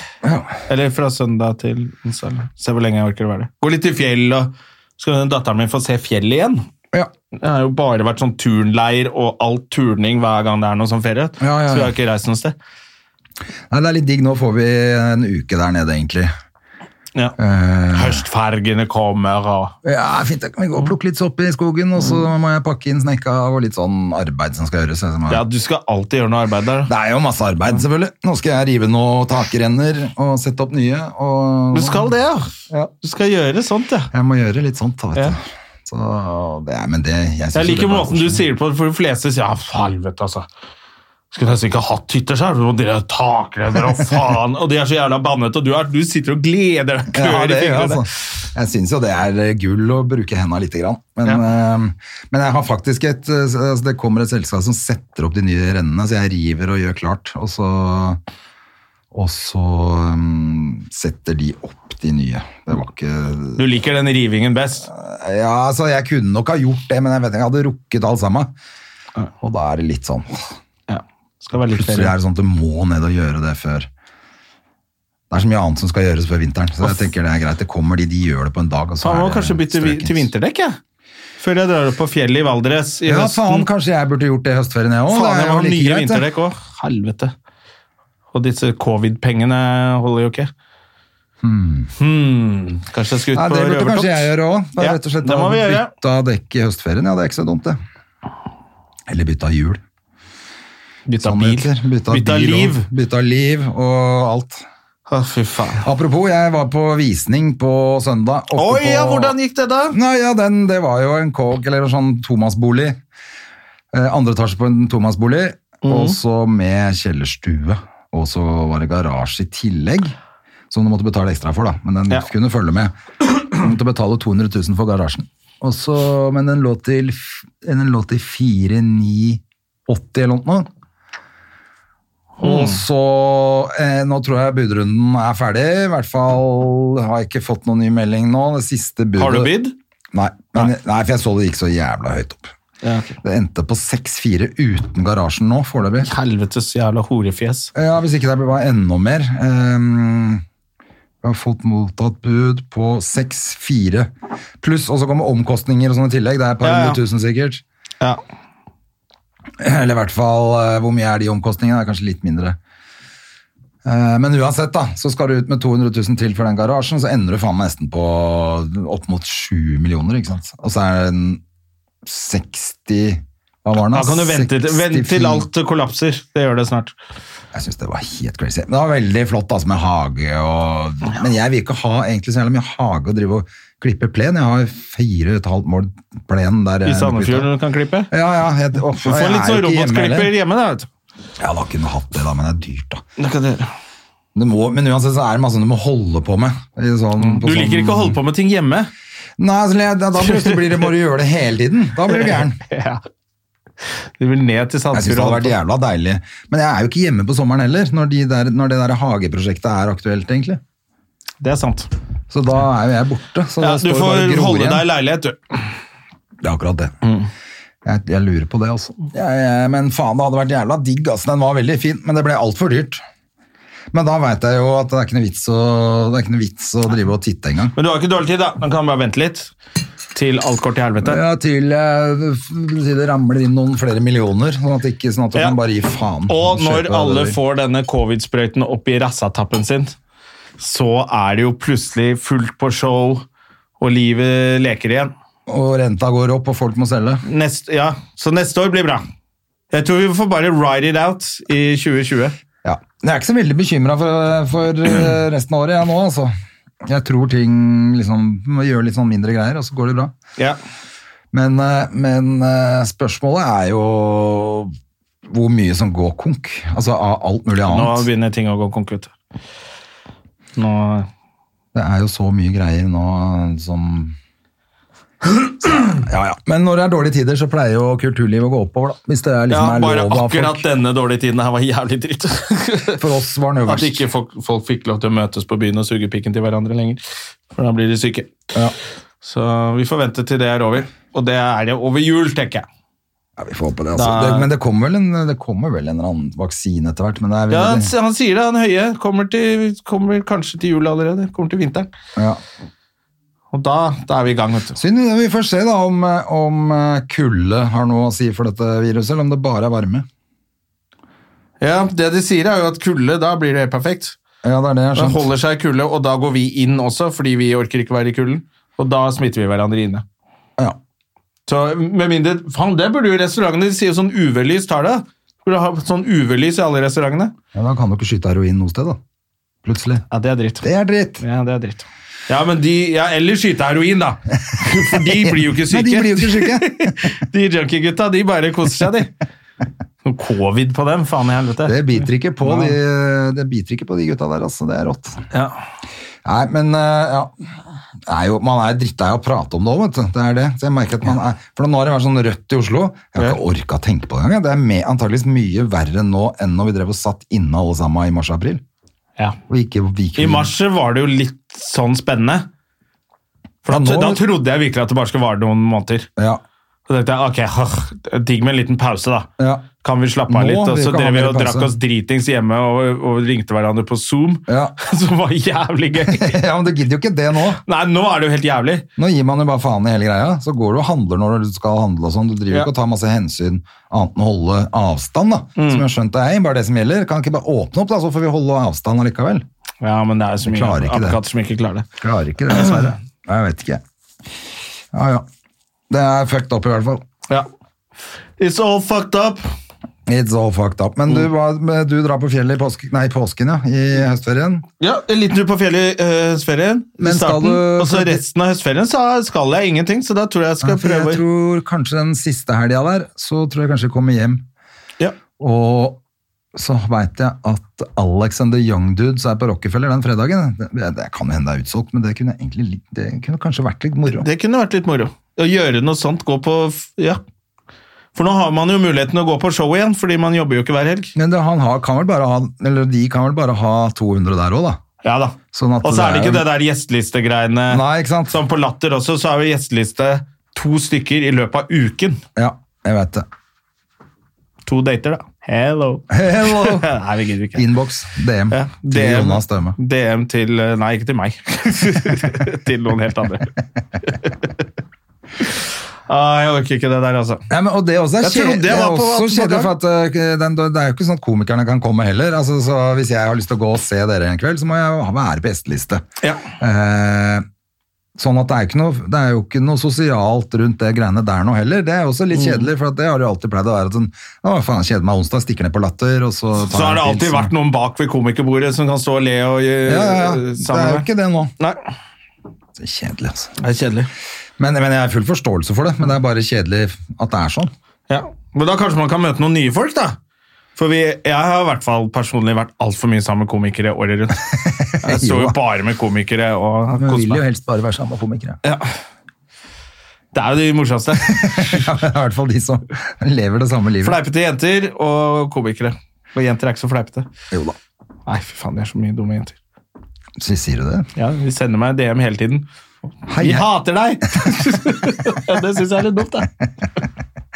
Eller fra søndag til onsdag. eller. Se hvor lenge jeg orker å være der. Gå litt i fjell, og så skal datteren min få se fjellet igjen.
Ja.
Det har jo bare vært sånn turnleir og alt turning hver gang det er noe sånn ferie.
Ja, ja,
Så vi
ja.
har ikke reist noe sted.
Nei, det er litt digg. Nå får vi en uke der nede, egentlig. Eh,
Ja. Høstfergene kommer og
Ja, fint, da kan vi gå og plukke litt sopp i skogen, og så må jeg pakke inn snekka og litt sånn arbeid som skal gjøres. så jeg må-
Ja, du skal alltid gjøre noe arbeid der. da.
Det er jo masse arbeid, selvfølgelig. Nå skal jeg rive noen takrenner og sette opp nye. Og
Du skal det, ja.
Ja.
Du skal gjøre sånt, ja.
Jeg må gjøre litt sånt, da, vet
Ja.
du. Så det er, men det, jeg synes
Jeg
jo
liker
det er
måten du sier det på, for de fleste sier ja, helvete, altså. Skulle nesten ikke hatt hytter sjøl. Dere er takrenner og faen. Og de er så jævla bannete, og du, er, du sitter og gleder deg.
Ja,
klør i
det gjør jeg,
fingrene.
altså. Jeg syns jo det er eh, gull å bruke henda lite grann. Men, eh, men jeg har faktisk et eh, altså Det kommer et selskap som setter opp de nye rennene, så jeg river og gjør klart. Og så, og så mm, setter de opp de nye. Det var ikke
Du liker den rivingen best.
Ja, altså, jeg kunne nok ha gjort det, men jeg vet ikke, jeg hadde rukket alt sammen. Og da er det litt sånn åh,
Ja. Skal være litt
Plutselig
ferie.
er det sånn at du må ned og gjøre det før Det er så mye annet som skal gjøres før vinteren, så jeg tenker det er greit. Det kommer de, de gjør det på en dag. Og så
Faen,
er
må
det
kanskje bytte vi, til
strøkens.
vinterdekk, jeg. Før jeg drar opp på fjellet i Valdres i
Ja,
høsten.
faen, kanskje jeg burde gjort det i høstferien jeg òg.
Faen, jeg må ha nye vinterdekk òg. Helvete. Og disse covid-pengene holder jo ikke. Hmm. Kanskje jeg skal ut
Nei,
på
det burde kanskje jeg
røvertokt?
gjøre òg.
Ja, det må vi gjøre.
Bytta dekk i høstferien, ja, det er ikke så dumt, det. Eller bytta hjul.
Bytta
som det
bil.
heter. Bytta,
Bytta
bil
liv.
Og, bytta liv og alt.
Å, fy faen.
Apropos, jeg var på visning på søndag. oppe
Oi, ja,
på-
hvordan gikk det da?
Nei, ja, den, det var jo en kåk, eller en sånn tomannsbolig. Eh, andre etasje på en tomannsbolig,
Mhm.
og så med kjellerstue. Og så var det garasje i tillegg, som du måtte betale ekstra for, da. Men den
Ja.
kunne følge med. Du måtte betale 200 000 for garasjen. Og så- men den lå til, f- den lå til 4980 eller noe. Og
Mhm.
så, eh, nå tror jeg budrunden er ferdig, i hvert fall har jeg ikke fått noen ny melding nå. Det siste budet...
Har du bydd?
Nei, men, nei. for jeg så det gikk så jævla høyt opp.
Ja,
Det endte på 6-4 uten garasjen nå, foreløpig.
Helvetes jævla horefjes.
Ja, hvis ikke det blir bare enda mer. Ehm, jeg har fått mottatt bud på 6-4 pluss, og så kommer omkostninger og sånn i tillegg. Det er et par
Ja, ja.
hundre tusen sikkert.
Ja.
Eller i hvert fall, eh, hvor mye er de omkostningene? Det er kanskje litt mindre. Eh, Men uansett, da, så skal du ut med 200 000 til for den garasjen, så ender du faen meg nesten på opp mot 7 millioner, ikke sant? Og så er den 60 Hva var den?
Da kan du vente til, vent til
64
alt kollapser. Det gjør det snart.
Jeg syns det var helt crazy. Men Det var veldig flott altså, med hage og Men jeg vil ikke ha egentlig så jævla mye hage og drive og klippe plen. Jeg har fire og et halvt mål plen der.
I
jeg-
Sandefjord når du kan klippe.
Ja, ja. Jeg, å,
Du får
jeg
litt
er
sånn
jo ikke hjemme heller.
robotklipper hjemme, da. vet du.
Ja, da kunne jeg hatt det, da, men det er dyrt, da.
Det kan dere.
Du må, men uansett så er det masse du må holde på med. i Sånn,
Mm. Du liker ikke å holde på med ting hjemme.
Nei, altså, jeg- da da plutselig blir det, må du gjøre det hele tiden. Da blir du gæren.
Ja. Du vil ned til
Jeg
Sandefjord.
synes det
og
hadde
holde
vært
på.
jævla deilig. Men jeg er jo ikke hjemme på sommeren heller, når, de der, når det der hageprosjektet er aktuelt, egentlig.
Det er sant.
Så da er jo jeg borte. Så
Ja,
da
du
står det
får
bare gror
holde
igjen.
deg i leilighet, du.
Det er akkurat det. Jeg, jeg lurer på det, altså. Jeg, jeg, men faen, det hadde vært jævla digg. Altså. Den var veldig fin, men det ble altfor dyrt. Men da veit jeg jo at det er ikke noe vits å, det er ikke noe vits å drive og titte engang.
Men du har ikke dårlig tid, da. Man kan bare vente litt til alt går til helvete.
Ja, til eh, f- si det ramler inn noen flere millioner, sånn at, ikke, sånn at du
Ja.
kan bare gi faen.
Og når
Kjøpe det
alle
der.
får denne covid-sprøyten opp i rassatappen sin, så er det jo plutselig fullt på show, og livet leker igjen.
Og renta går opp, og folk må selge.
Nest, ja, så neste år blir bra. Jeg tror vi får bare ride it out i 2020.
Ja. Jeg er ikke så veldig bekymra for, for eh, resten av året, jeg nå, altså. Jeg tror ting liksom må gjøre litt sånn mindre greier, og så går det bra.
Ja.
Men, eh, men eh, spørsmålet er jo hvor mye som går konk. Altså av alt mulig
Nå
annet.
begynner ting å gå konk ut. Nå
Det er jo så mye greier nå som så, ja, ja. Men når det er dårlige tider, så pleier jo kulturlivet å gå oppover, da. Hvis det
Ja,
er, liksom,
bare
er lov av
akkurat
folk.
denne dårlige tiden her var jævlig dritt.
For oss var
At
den øverst.
ikke folk, folk fikk lov til å møtes på byen og suge pikken til hverandre lenger. For da blir de syke.
Ja.
Så vi får vente til det er over. Og det er det over jul, tenker jeg.
Ja, vi får håpe det, altså.
Da-
det. Men det kommer vel en, det kommer vel en eller annen vaksine etter hvert. Men det er
Ja, han,
veldig-
han sier det, han høye. Kommer, til, kommer kanskje til jul allerede. Kommer til vinteren.
ja.
Og da, da er vi i gang, vet du.
Synd, vi får se da om, eh, om eh, kulde har noe å si for dette viruset, eller om det bare er varme.
Ja, det de sier er jo at kulde, da blir det helt perfekt.
Ja, det er det jeg har
Da
skjønt.
holder seg i kulde, og da går vi inn også, fordi vi orker ikke være i kulden. Og da smitter vi hverandre inne.
Ja.
Så med mindre, faen, det burde jo restaurantene, de sier jo sånn UV-lys tar det. Burde ha sånn UV-lys i alle restaurantene.
ja, Da kan du ikke skyte heroin noe sted, da. Plutselig.
Ja, det er dritt.
Det er dritt!
Ja, det er dritt. Ja, men de, ja, eller skyte heroin da. For de blir jo ikke syke.
Nei, de blir jo ikke syke.
De junkie-gutta, de bare koser seg, de. Noe covid på dem, faen i helvete.
Det biter ikke på de, det biter ikke på de gutta der, altså. Det er rått.
Ja.
Nei, men eh, ja. Det er jo, man er drittlei av å prate om det òg, vet du. Det er det. Så jeg merker at man er, for nå har det vært sånn rødt i Oslo. Jeg har ikke orka å tenke på det engang. Det er me- antageligvis mye verre nå enn når vi drev og satt inne alle sammen i mars-april.
ja.
Og ikke, ikke,
I mars var det jo litt sånn spennende. For
Ja,
da,
nå-
da trodde jeg virkelig at det bare skulle vare noen måneder.
Ja.
Så tenkte jeg, ok, hør, digg med en liten pause da.
Ja.
Kan vi slappe av
Nå
litt? Og
vil
så
ikke ha
drev vi
mer
og
pause.
drakk oss dritings hjemme og, og ringte hverandre på Zoom.
Ja.
Som var jævlig gøy.
ja, men du gidder jo ikke det nå.
Nei, nå er det jo helt jævlig.
Nå gir man jo bare faen i hele greia. Så går du og handler når du skal handle og sånn. Du driver jo
Ja.
ikke og tar masse hensyn annet enn å holde avstand, da. Som jeg har skjønt det er bare det som gjelder. Kan ikke bare åpne opp, da, så får vi holde avstand allikevel.
Ja, men det er jo så
Vi
mye
klarer ikke det.
apekatter som ikke klarer det.
Klarer ikke det, dessverre. Nei, Jeg vet ikke. Ja, ja. Det er fucked up, i hvert fall.
Ja. It's all fucked up.
It's all fucked up. Men du, var, men du drar på fjellet i påsken, nei, påsken ja, i høstferien.
Ja, en liten tur på fjellet i eh, høstferien. i
Men skal
starten,
du-
Og så resten av høstferien så skal jeg ingenting, så da tror jeg jeg skal
Ja, for
prøve.
Jeg tror kanskje den siste helga der, så tror jeg kanskje jeg kommer hjem.
Ja.
Og så veit jeg at Alex and the Young Dudes er på Rockefeller den fredagen. Det, det kan hende det er utsolgt, men det kunne, egentlig, litt- det kunne kanskje vært litt moro.
Det kunne vært litt moro. Å gjøre noe sånt, gå på f- Ja. For nå har man jo muligheten å gå på show igjen, fordi man jobber jo ikke hver helg.
Men det, han har, kan vel bare ha, eller de kan vel bare ha 200 der òg, da.
Ja da.
Sånn at
Og så er det
jo-
ikke det der gjestelistegreiene.
Nei, ikke sant?
Som på Latter også, så er vi gjesteliste to stykker i løpet av uken.
Ja, jeg veit det.
To dater, da. Hello.
Hello!
Nei, vi gidder ikke.
Inbox, DM,
Ja,
til
DM
Jonas Støme.
DM til eh, Nei, ikke til meg. til noen helt andre. ah, jeg orker ikke det der, altså.
Ja, men, og det også er
Jeg trodde jeg
kjed- det er
var på
også
18
kjedelig, for at eh, den, det er jo ikke sånn at komikerne kan komme heller. Altså, så hvis jeg har lyst til å gå og se dere en kveld, så må jeg jo være på gjesteliste.
Ja.
Eh, Sånn at det er, ikke noe, det er jo ikke noe sosialt rundt det greiene der nå heller. Det er også litt kjedelig, for at det har jo alltid pleid å være sånn Å, faen, jeg kjeder meg onsdag, stikker ned på Latter, og så tar
Så har det
jeg en
alltid
pils, og-
vært noen bak ved komikerbordet som kan stå og le og eh, gjøre
ja, ja, ja. Det er jo ikke det nå.
Nei,
Så Kjedelig, altså.
det er kjedelig.
Men, men jeg har full forståelse for det, men det er bare kjedelig at det er sånn.
Ja. Men da kanskje man kan møte noen nye folk, da. For vi, jeg har i hvert fall personlig vært altfor mye sammen med komikere året rundt. Jeg står
Jo
jo
da.
bare med komikere og
Man
koser
vil jo
meg.
helst bare være sammen med komikere.
Ja. Det er jo de morsomste.
Ja, men det er I hvert fall de som lever det samme livet.
Fleipete jenter og komikere. Og jenter er ikke så fleipete.
Jo da.
Nei, fy faen, de er så mye dumme jenter.
Så sier du det?
Ja, De sender meg DM hele tiden.
Hei,
Vi
hei.
hater deg! ja, det syns jeg er litt dumt, da.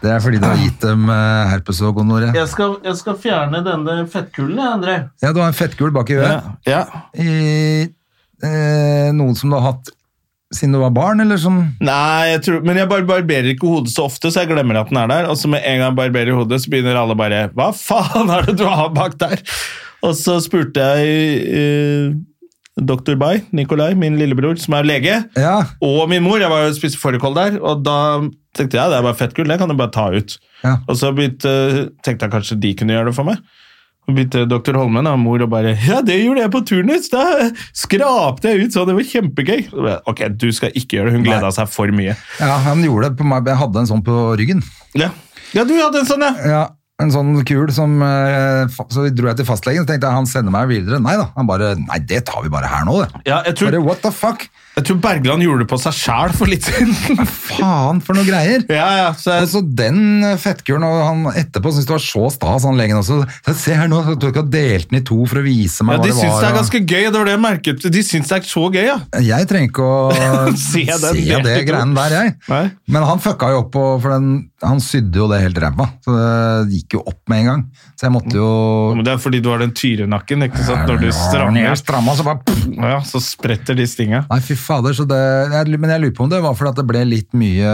Det er fordi du har gitt dem eh, herpes og gonoré.
Jeg skal, jeg skal fjerne denne fettkulen, jeg, André.
Ja, du har en fettkul bak i øret.
Ja. ja.
I, eh, noen som du har hatt siden du var barn, eller som
Nei, jeg tror, men jeg bare barberer ikke hodet så ofte, så jeg glemmer at den er der. Og så med en gang jeg barberer hodet, så begynner alle bare Hva faen er det du har bak der? Og så spurte jeg eh, Dr. Bay, Nikolai, min lillebror, som er lege,
Ja.
og min mor. Jeg var jo og spiste fårikål der, og da tenkte jeg det er bare fettgull, det kan du bare ta ut.
Ja.
Og så begynte, tenkte jeg kanskje de kunne gjøre det for meg. Og begynte doktor Holmen og mor og bare Ja, det gjorde jeg på turnus! Da skrapte jeg ut sånn, det var kjempegøy. Så ble jeg, Ok, du skal ikke gjøre det. Hun gleda seg for mye.
ja, han gjorde det på meg. Jeg hadde en sånn på ryggen.
Ja, ja du hadde en sånn, ja!
Ja, En sånn kul som eh, fa- Så dro jeg til fastlegen, så tenkte jeg han sender meg videre. Nei da. Han bare Nei, det tar vi bare her nå, det.
ja jeg, tror,
Bare what the fuck?
jeg tror Bergland gjorde det på seg sjæl for litt siden.
Faen for noe greier!
ja, ja, så jeg,
Altså, den fettkuren, og han etterpå syntes det var så stas, han legen også. Så Se her nå, du har delt den i to for å vise meg
ja, de
hva det
syns
var.
det er
og-
ganske gøy, det var det jeg merket. De syns det er så gøy, ja.
Jeg trenger ikke å
Se
se,
den delt
det
i to.
greiene der, jeg.
Nei.
Men han fucka jo opp, på- for den, han sydde jo det helt ræva. Så det gikk jo opp med en gang. Så jeg måtte
Ja,
jo
Men det er fordi du har den tyrenakken, ikke sant? Når du strammer,
Jeg stramma, så bare pff.
ja, så spretter de stinga.
Nei, fy fader. Så det, jeg, men jeg lurer på om det var fordi at det ble litt mye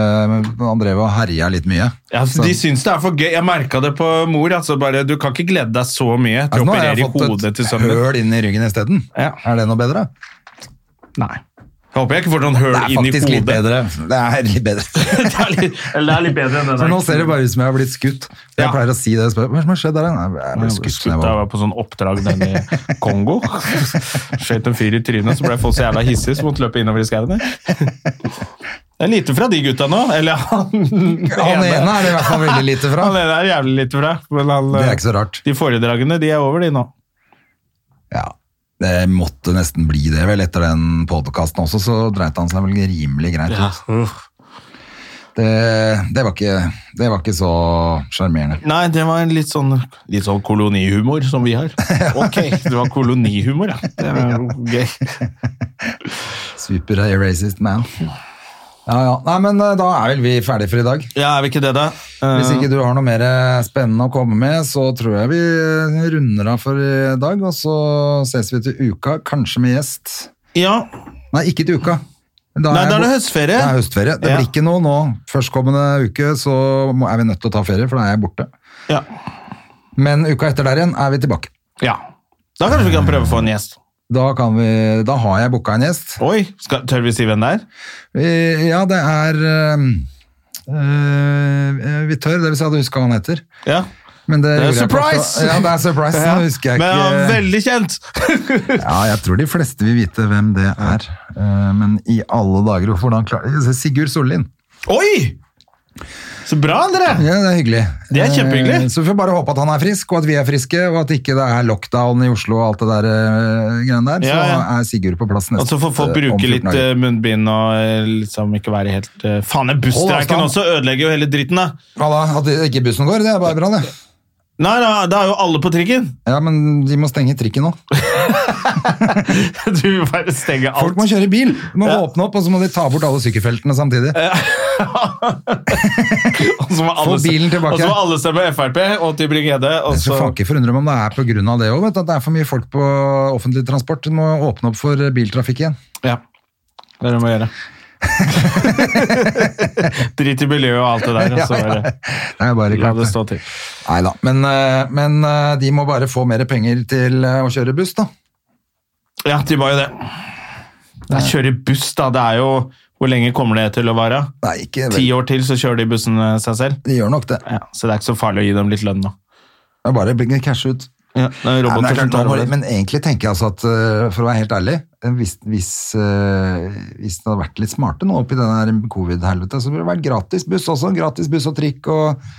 Han drev og herja litt mye.
Ja, altså,
Så-
de syns det er for gøy. Jeg merka det på mor. altså bare, Du kan ikke glede deg så mye til
Altså,
å
nå har
operere i
jeg fått
hodet
et
til sønnen din.
høl inn i ryggen isteden.
Ja.
Er det noe bedre?
Nei. Jeg håper jeg ikke får noen høl
Det
inn
er
i
faktisk litt
hodet.
bedre. Det er litt bedre.
det, er litt, eller det er litt bedre enn den
For
der.
nå ser det bare ut som jeg har blitt skutt. Jeg
Ja.
pleier å si det. Jeg spør, Hva er det som har skjedd der? Nei, jeg ble
Jeg ble
skutt.
skutt da jeg var på sånn oppdrag nede i Kongo. Skjøt en fyr i trynet, så ble folk så jævla hissige som måtte løpe innover i skauen. der. Det er lite fra de gutta nå. Eller han
Han ene
ene.
er det i hvert fall veldig lite fra.
Han ene er jævlig lite fra. Men han, eh,
Det er ikke så rart.
de foredragene de er over, de nå.
Ja, det måtte nesten bli det vel etter den podcasten også, så dreit han seg vel rimelig greit ut. Det, det, var ikke, det var ikke så sjarmerende.
Nei, det var en litt sånn, litt sånn kolonihumor som vi har. Ok, det var kolonihumor, ja. Det var jo gøy.
Super racist man. Ja, ja. Nei, men eh, da er vel vi ferdige for i dag.
Ja, er vi ikke det, da? Eh,
Hvis ikke du har noe mer eh, spennende å komme med, så tror jeg vi eh, runder av for i dag, og så ses vi til uka, kanskje med gjest.
Eh, Ja.
Nei, ikke til uka. Da
Nei,
jeg
da er det
bo-
høstferie.
Det er høstferie. Det
Ja.
blir ikke noe nå. Førstkommende uke så må, er vi nødt til å ta ferie, for da er jeg borte.
Ja.
Men uka etter der igjen er vi tilbake.
ja. Da kanskje vi kan prøve å få en gjest.
Da, kan vi, da har jeg booka en gjest.
Oi, skal, tør vi si hvem det er?
Eh, Ja, det er eh, eh, Vi tør, det vil si at jeg husker hva han heter.
Ja.
Men
Det
det,
er
gjorde jeg ikke
surprise!
også. Ja, det er surprise. Nå husker jeg
Men han er
ikke
veldig kjent!
Ja, jeg tror de fleste vil vite hvem det er. Eh, Men i alle dager, hvordan klarer Sigurd Sollien.
Oi! Så bra, André!
Ja, det er hyggelig.
Det er kjempehyggelig.
Eh, Så vi får bare håpe at han er frisk, og at vi er friske, og at ikke det er lockdown i Oslo og alt det der eh, greiene der.
Ja, ja.
Så er Sigurd på plass neste
Og så får Altså, folk
eh, om
bruke
14
litt
dager.
eh, munnbind og eh, liksom ikke være helt eh, Faen, den busstreiken
Hold
også
avstand.
ødelegger jo hele dritten, da!
Hva da? At det- ikke bussen går, det er bare bra, det.
Nei, da, da er jo alle på trikken!
Ja, men de må stenge trikken nå.
Du vil bare stenge alt.
Folk må kjøre bil! De må åpne opp, og så må de ta bort alle sykkelfeltene samtidig.
Og så må alle,
Få bilen tilbake.
Og så må alle stemme Frp og Tybring-Gjedde. og
Jeg skal
så-
faen ikke forundre meg om det er på grunn av det òg, at det er for mye folk på offentlig transport. De må åpne opp for eh, biltrafikk igjen.
Ja. Det er det du må gjøre. Drit i miljøet og alt det der. Og så bare
Det er jo bare
la
klart,
det
det.
stå til.
Neida, Men, eh, men eh, de må bare få mer penger til eh, å kjøre buss, da.
Ja, de var jo det. Jeg kjører buss, da. Det er jo Hvor lenge kommer det til å vare?
Nei, ikke
Ti
vel.
år til, så kjører de bussen eh, seg selv.
De gjør nok det.
Ja, så det er ikke så farlig å gi dem litt lønn, da.
Det er bare å bringe cash ut.
Ja, det er
Nei, men, det
roboter
er
som
klart, nå
tar
må-
over.
men egentlig tenker jeg altså at, øh, for å være helt ærlig, øh, hvis, hvis, øh, hvis det hadde vært litt smarte nå oppi den her covid-helvete, så burde det vært gratis buss også. Gratis buss og trikk og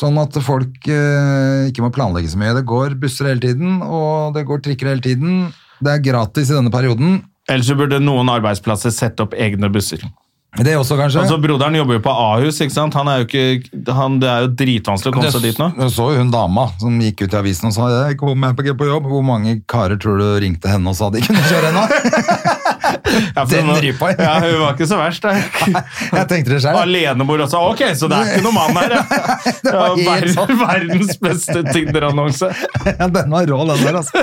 Sånn at folk øh, ikke må planlegge så mye. Det går busser hele tiden, og det går trikker hele tiden. Det er gratis i denne perioden.
Ellers så burde noen arbeidsplasser sette opp egne busser.
Det også, kanskje.
Altså, Broderen jobber jo på Ahus, ikke sant? Han er jo ikke, han, det er jo dritvanskelig å komme seg dit nå.
Jeg så jo hun dama som gikk ut i avisen og sa jeg kommer ikke på jobb. Hvor mange karer tror du ringte henne og sa de kunne kjøre henne?
Ja, for
Den
hun-
rypa.
Ja, hun var ikke så verst, da.
Jeg tenkte det selv.
Alenemor også. Ok, så det er ikke noen mann her, ja. Det
var
var
helt
ver verdens beste Tinder-annonse.
Ja, den var rå, den der, altså.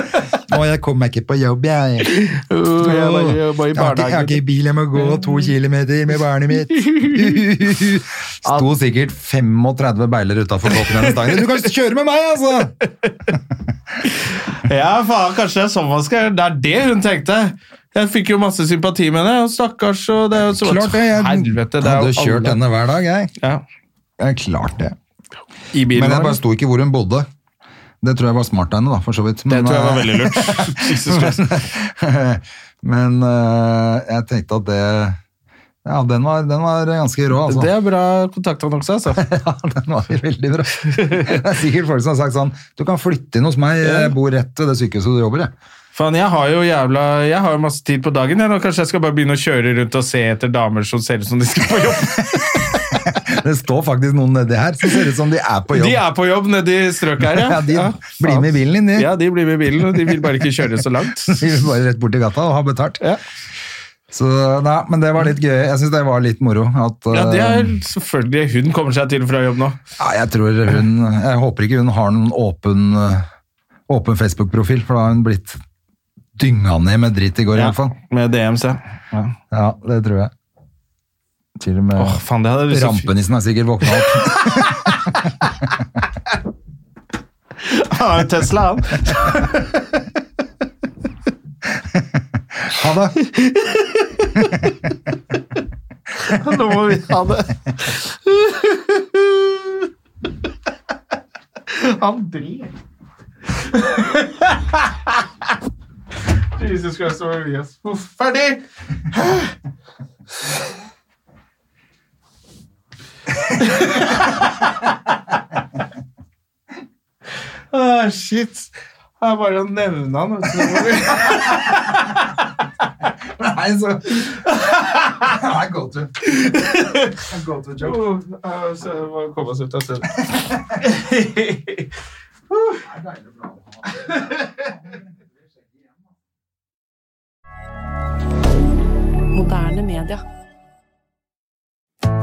Å, jeg kom meg ikke på jobb, jeg.
Uh, jeg var- jeg var i
Jeg har ikke- jeg har ikke
barnehagen.
bil, jeg må gå to kilometer med barnet mitt. Sto sikkert 35 beiler utafor båten hennes dagen. Du kan ikke kjøre med meg, altså!
Ja, faen, kanskje det er sånn man skal gjøre. Det er det hun tenkte. Jeg fikk jo masse sympati med det, og stakkars og det er jo så
Klart det. Jeg
Helvete, det er
hadde jo
jo
kjørt
alle-
henne hver dag, jeg.
Ja,
Jeg klart det.
I bilen.
Men jeg
eller?
bare sto ikke hvor hun bodde. Det tror jeg var smart av henne, da, for så vidt.
Det
Men,
tror jeg var
eh,
veldig lurt. Jesus Christ.
Men eh, jeg tenkte at det Ja, den var, den var ganske rå, altså.
Det er bra kontaktannonse, altså.
Ja, den var veldig bra. Det er sikkert folk som har sagt sånn Du kan flytte inn hos meg, jeg bor rett ved det sykehuset du jobber i.
Faen, jeg har jo jævla Jeg har jo masse tid på dagen, jeg nå. Kanskje jeg skal bare begynne å kjøre rundt og se etter damer som ser ut som de skal på jobb.
Det står faktisk noen nedi her som ser ut som de er på jobb.
De er på jobb nede i strøket her, ja.
Ja, de blir med i bilen din, de.
Ja, de blir med i bilen, og de vil bare ikke kjøre så langt.
Vi vil bare rett borti gata og har betalt.
Ja.
Så nei, men det var litt gøy. Jeg syns det var litt moro. At,
Ja, det
eh,
er selvfølgelig. Hun kommer seg til fra jobb nå.
ja, jeg tror hun Jeg håper ikke hun har noen åpen, eh, åpen Facebook-profil, for da har hun blitt dynga ned med dritt i går, i
Ja,
hvert fall.
med DMC. Ja.
Ja, det tror jeg. Til og med
Åh, faen, det hadde jeg lyst til
Rampenissen er sikkert våkna opp.
å- Han har jo Tesla, han.
Ha det!
Nå må vi ha det. André. Jesus Christ, nå er vi oss. Uff, Ferdig! Ah, shit. Det er bare å nevne han. vet du. Nå må vi-
Nei, så Nei, go to. Go to joke.
Oh, eh, så jeg må komme oss ut av stedet.
Moderne media.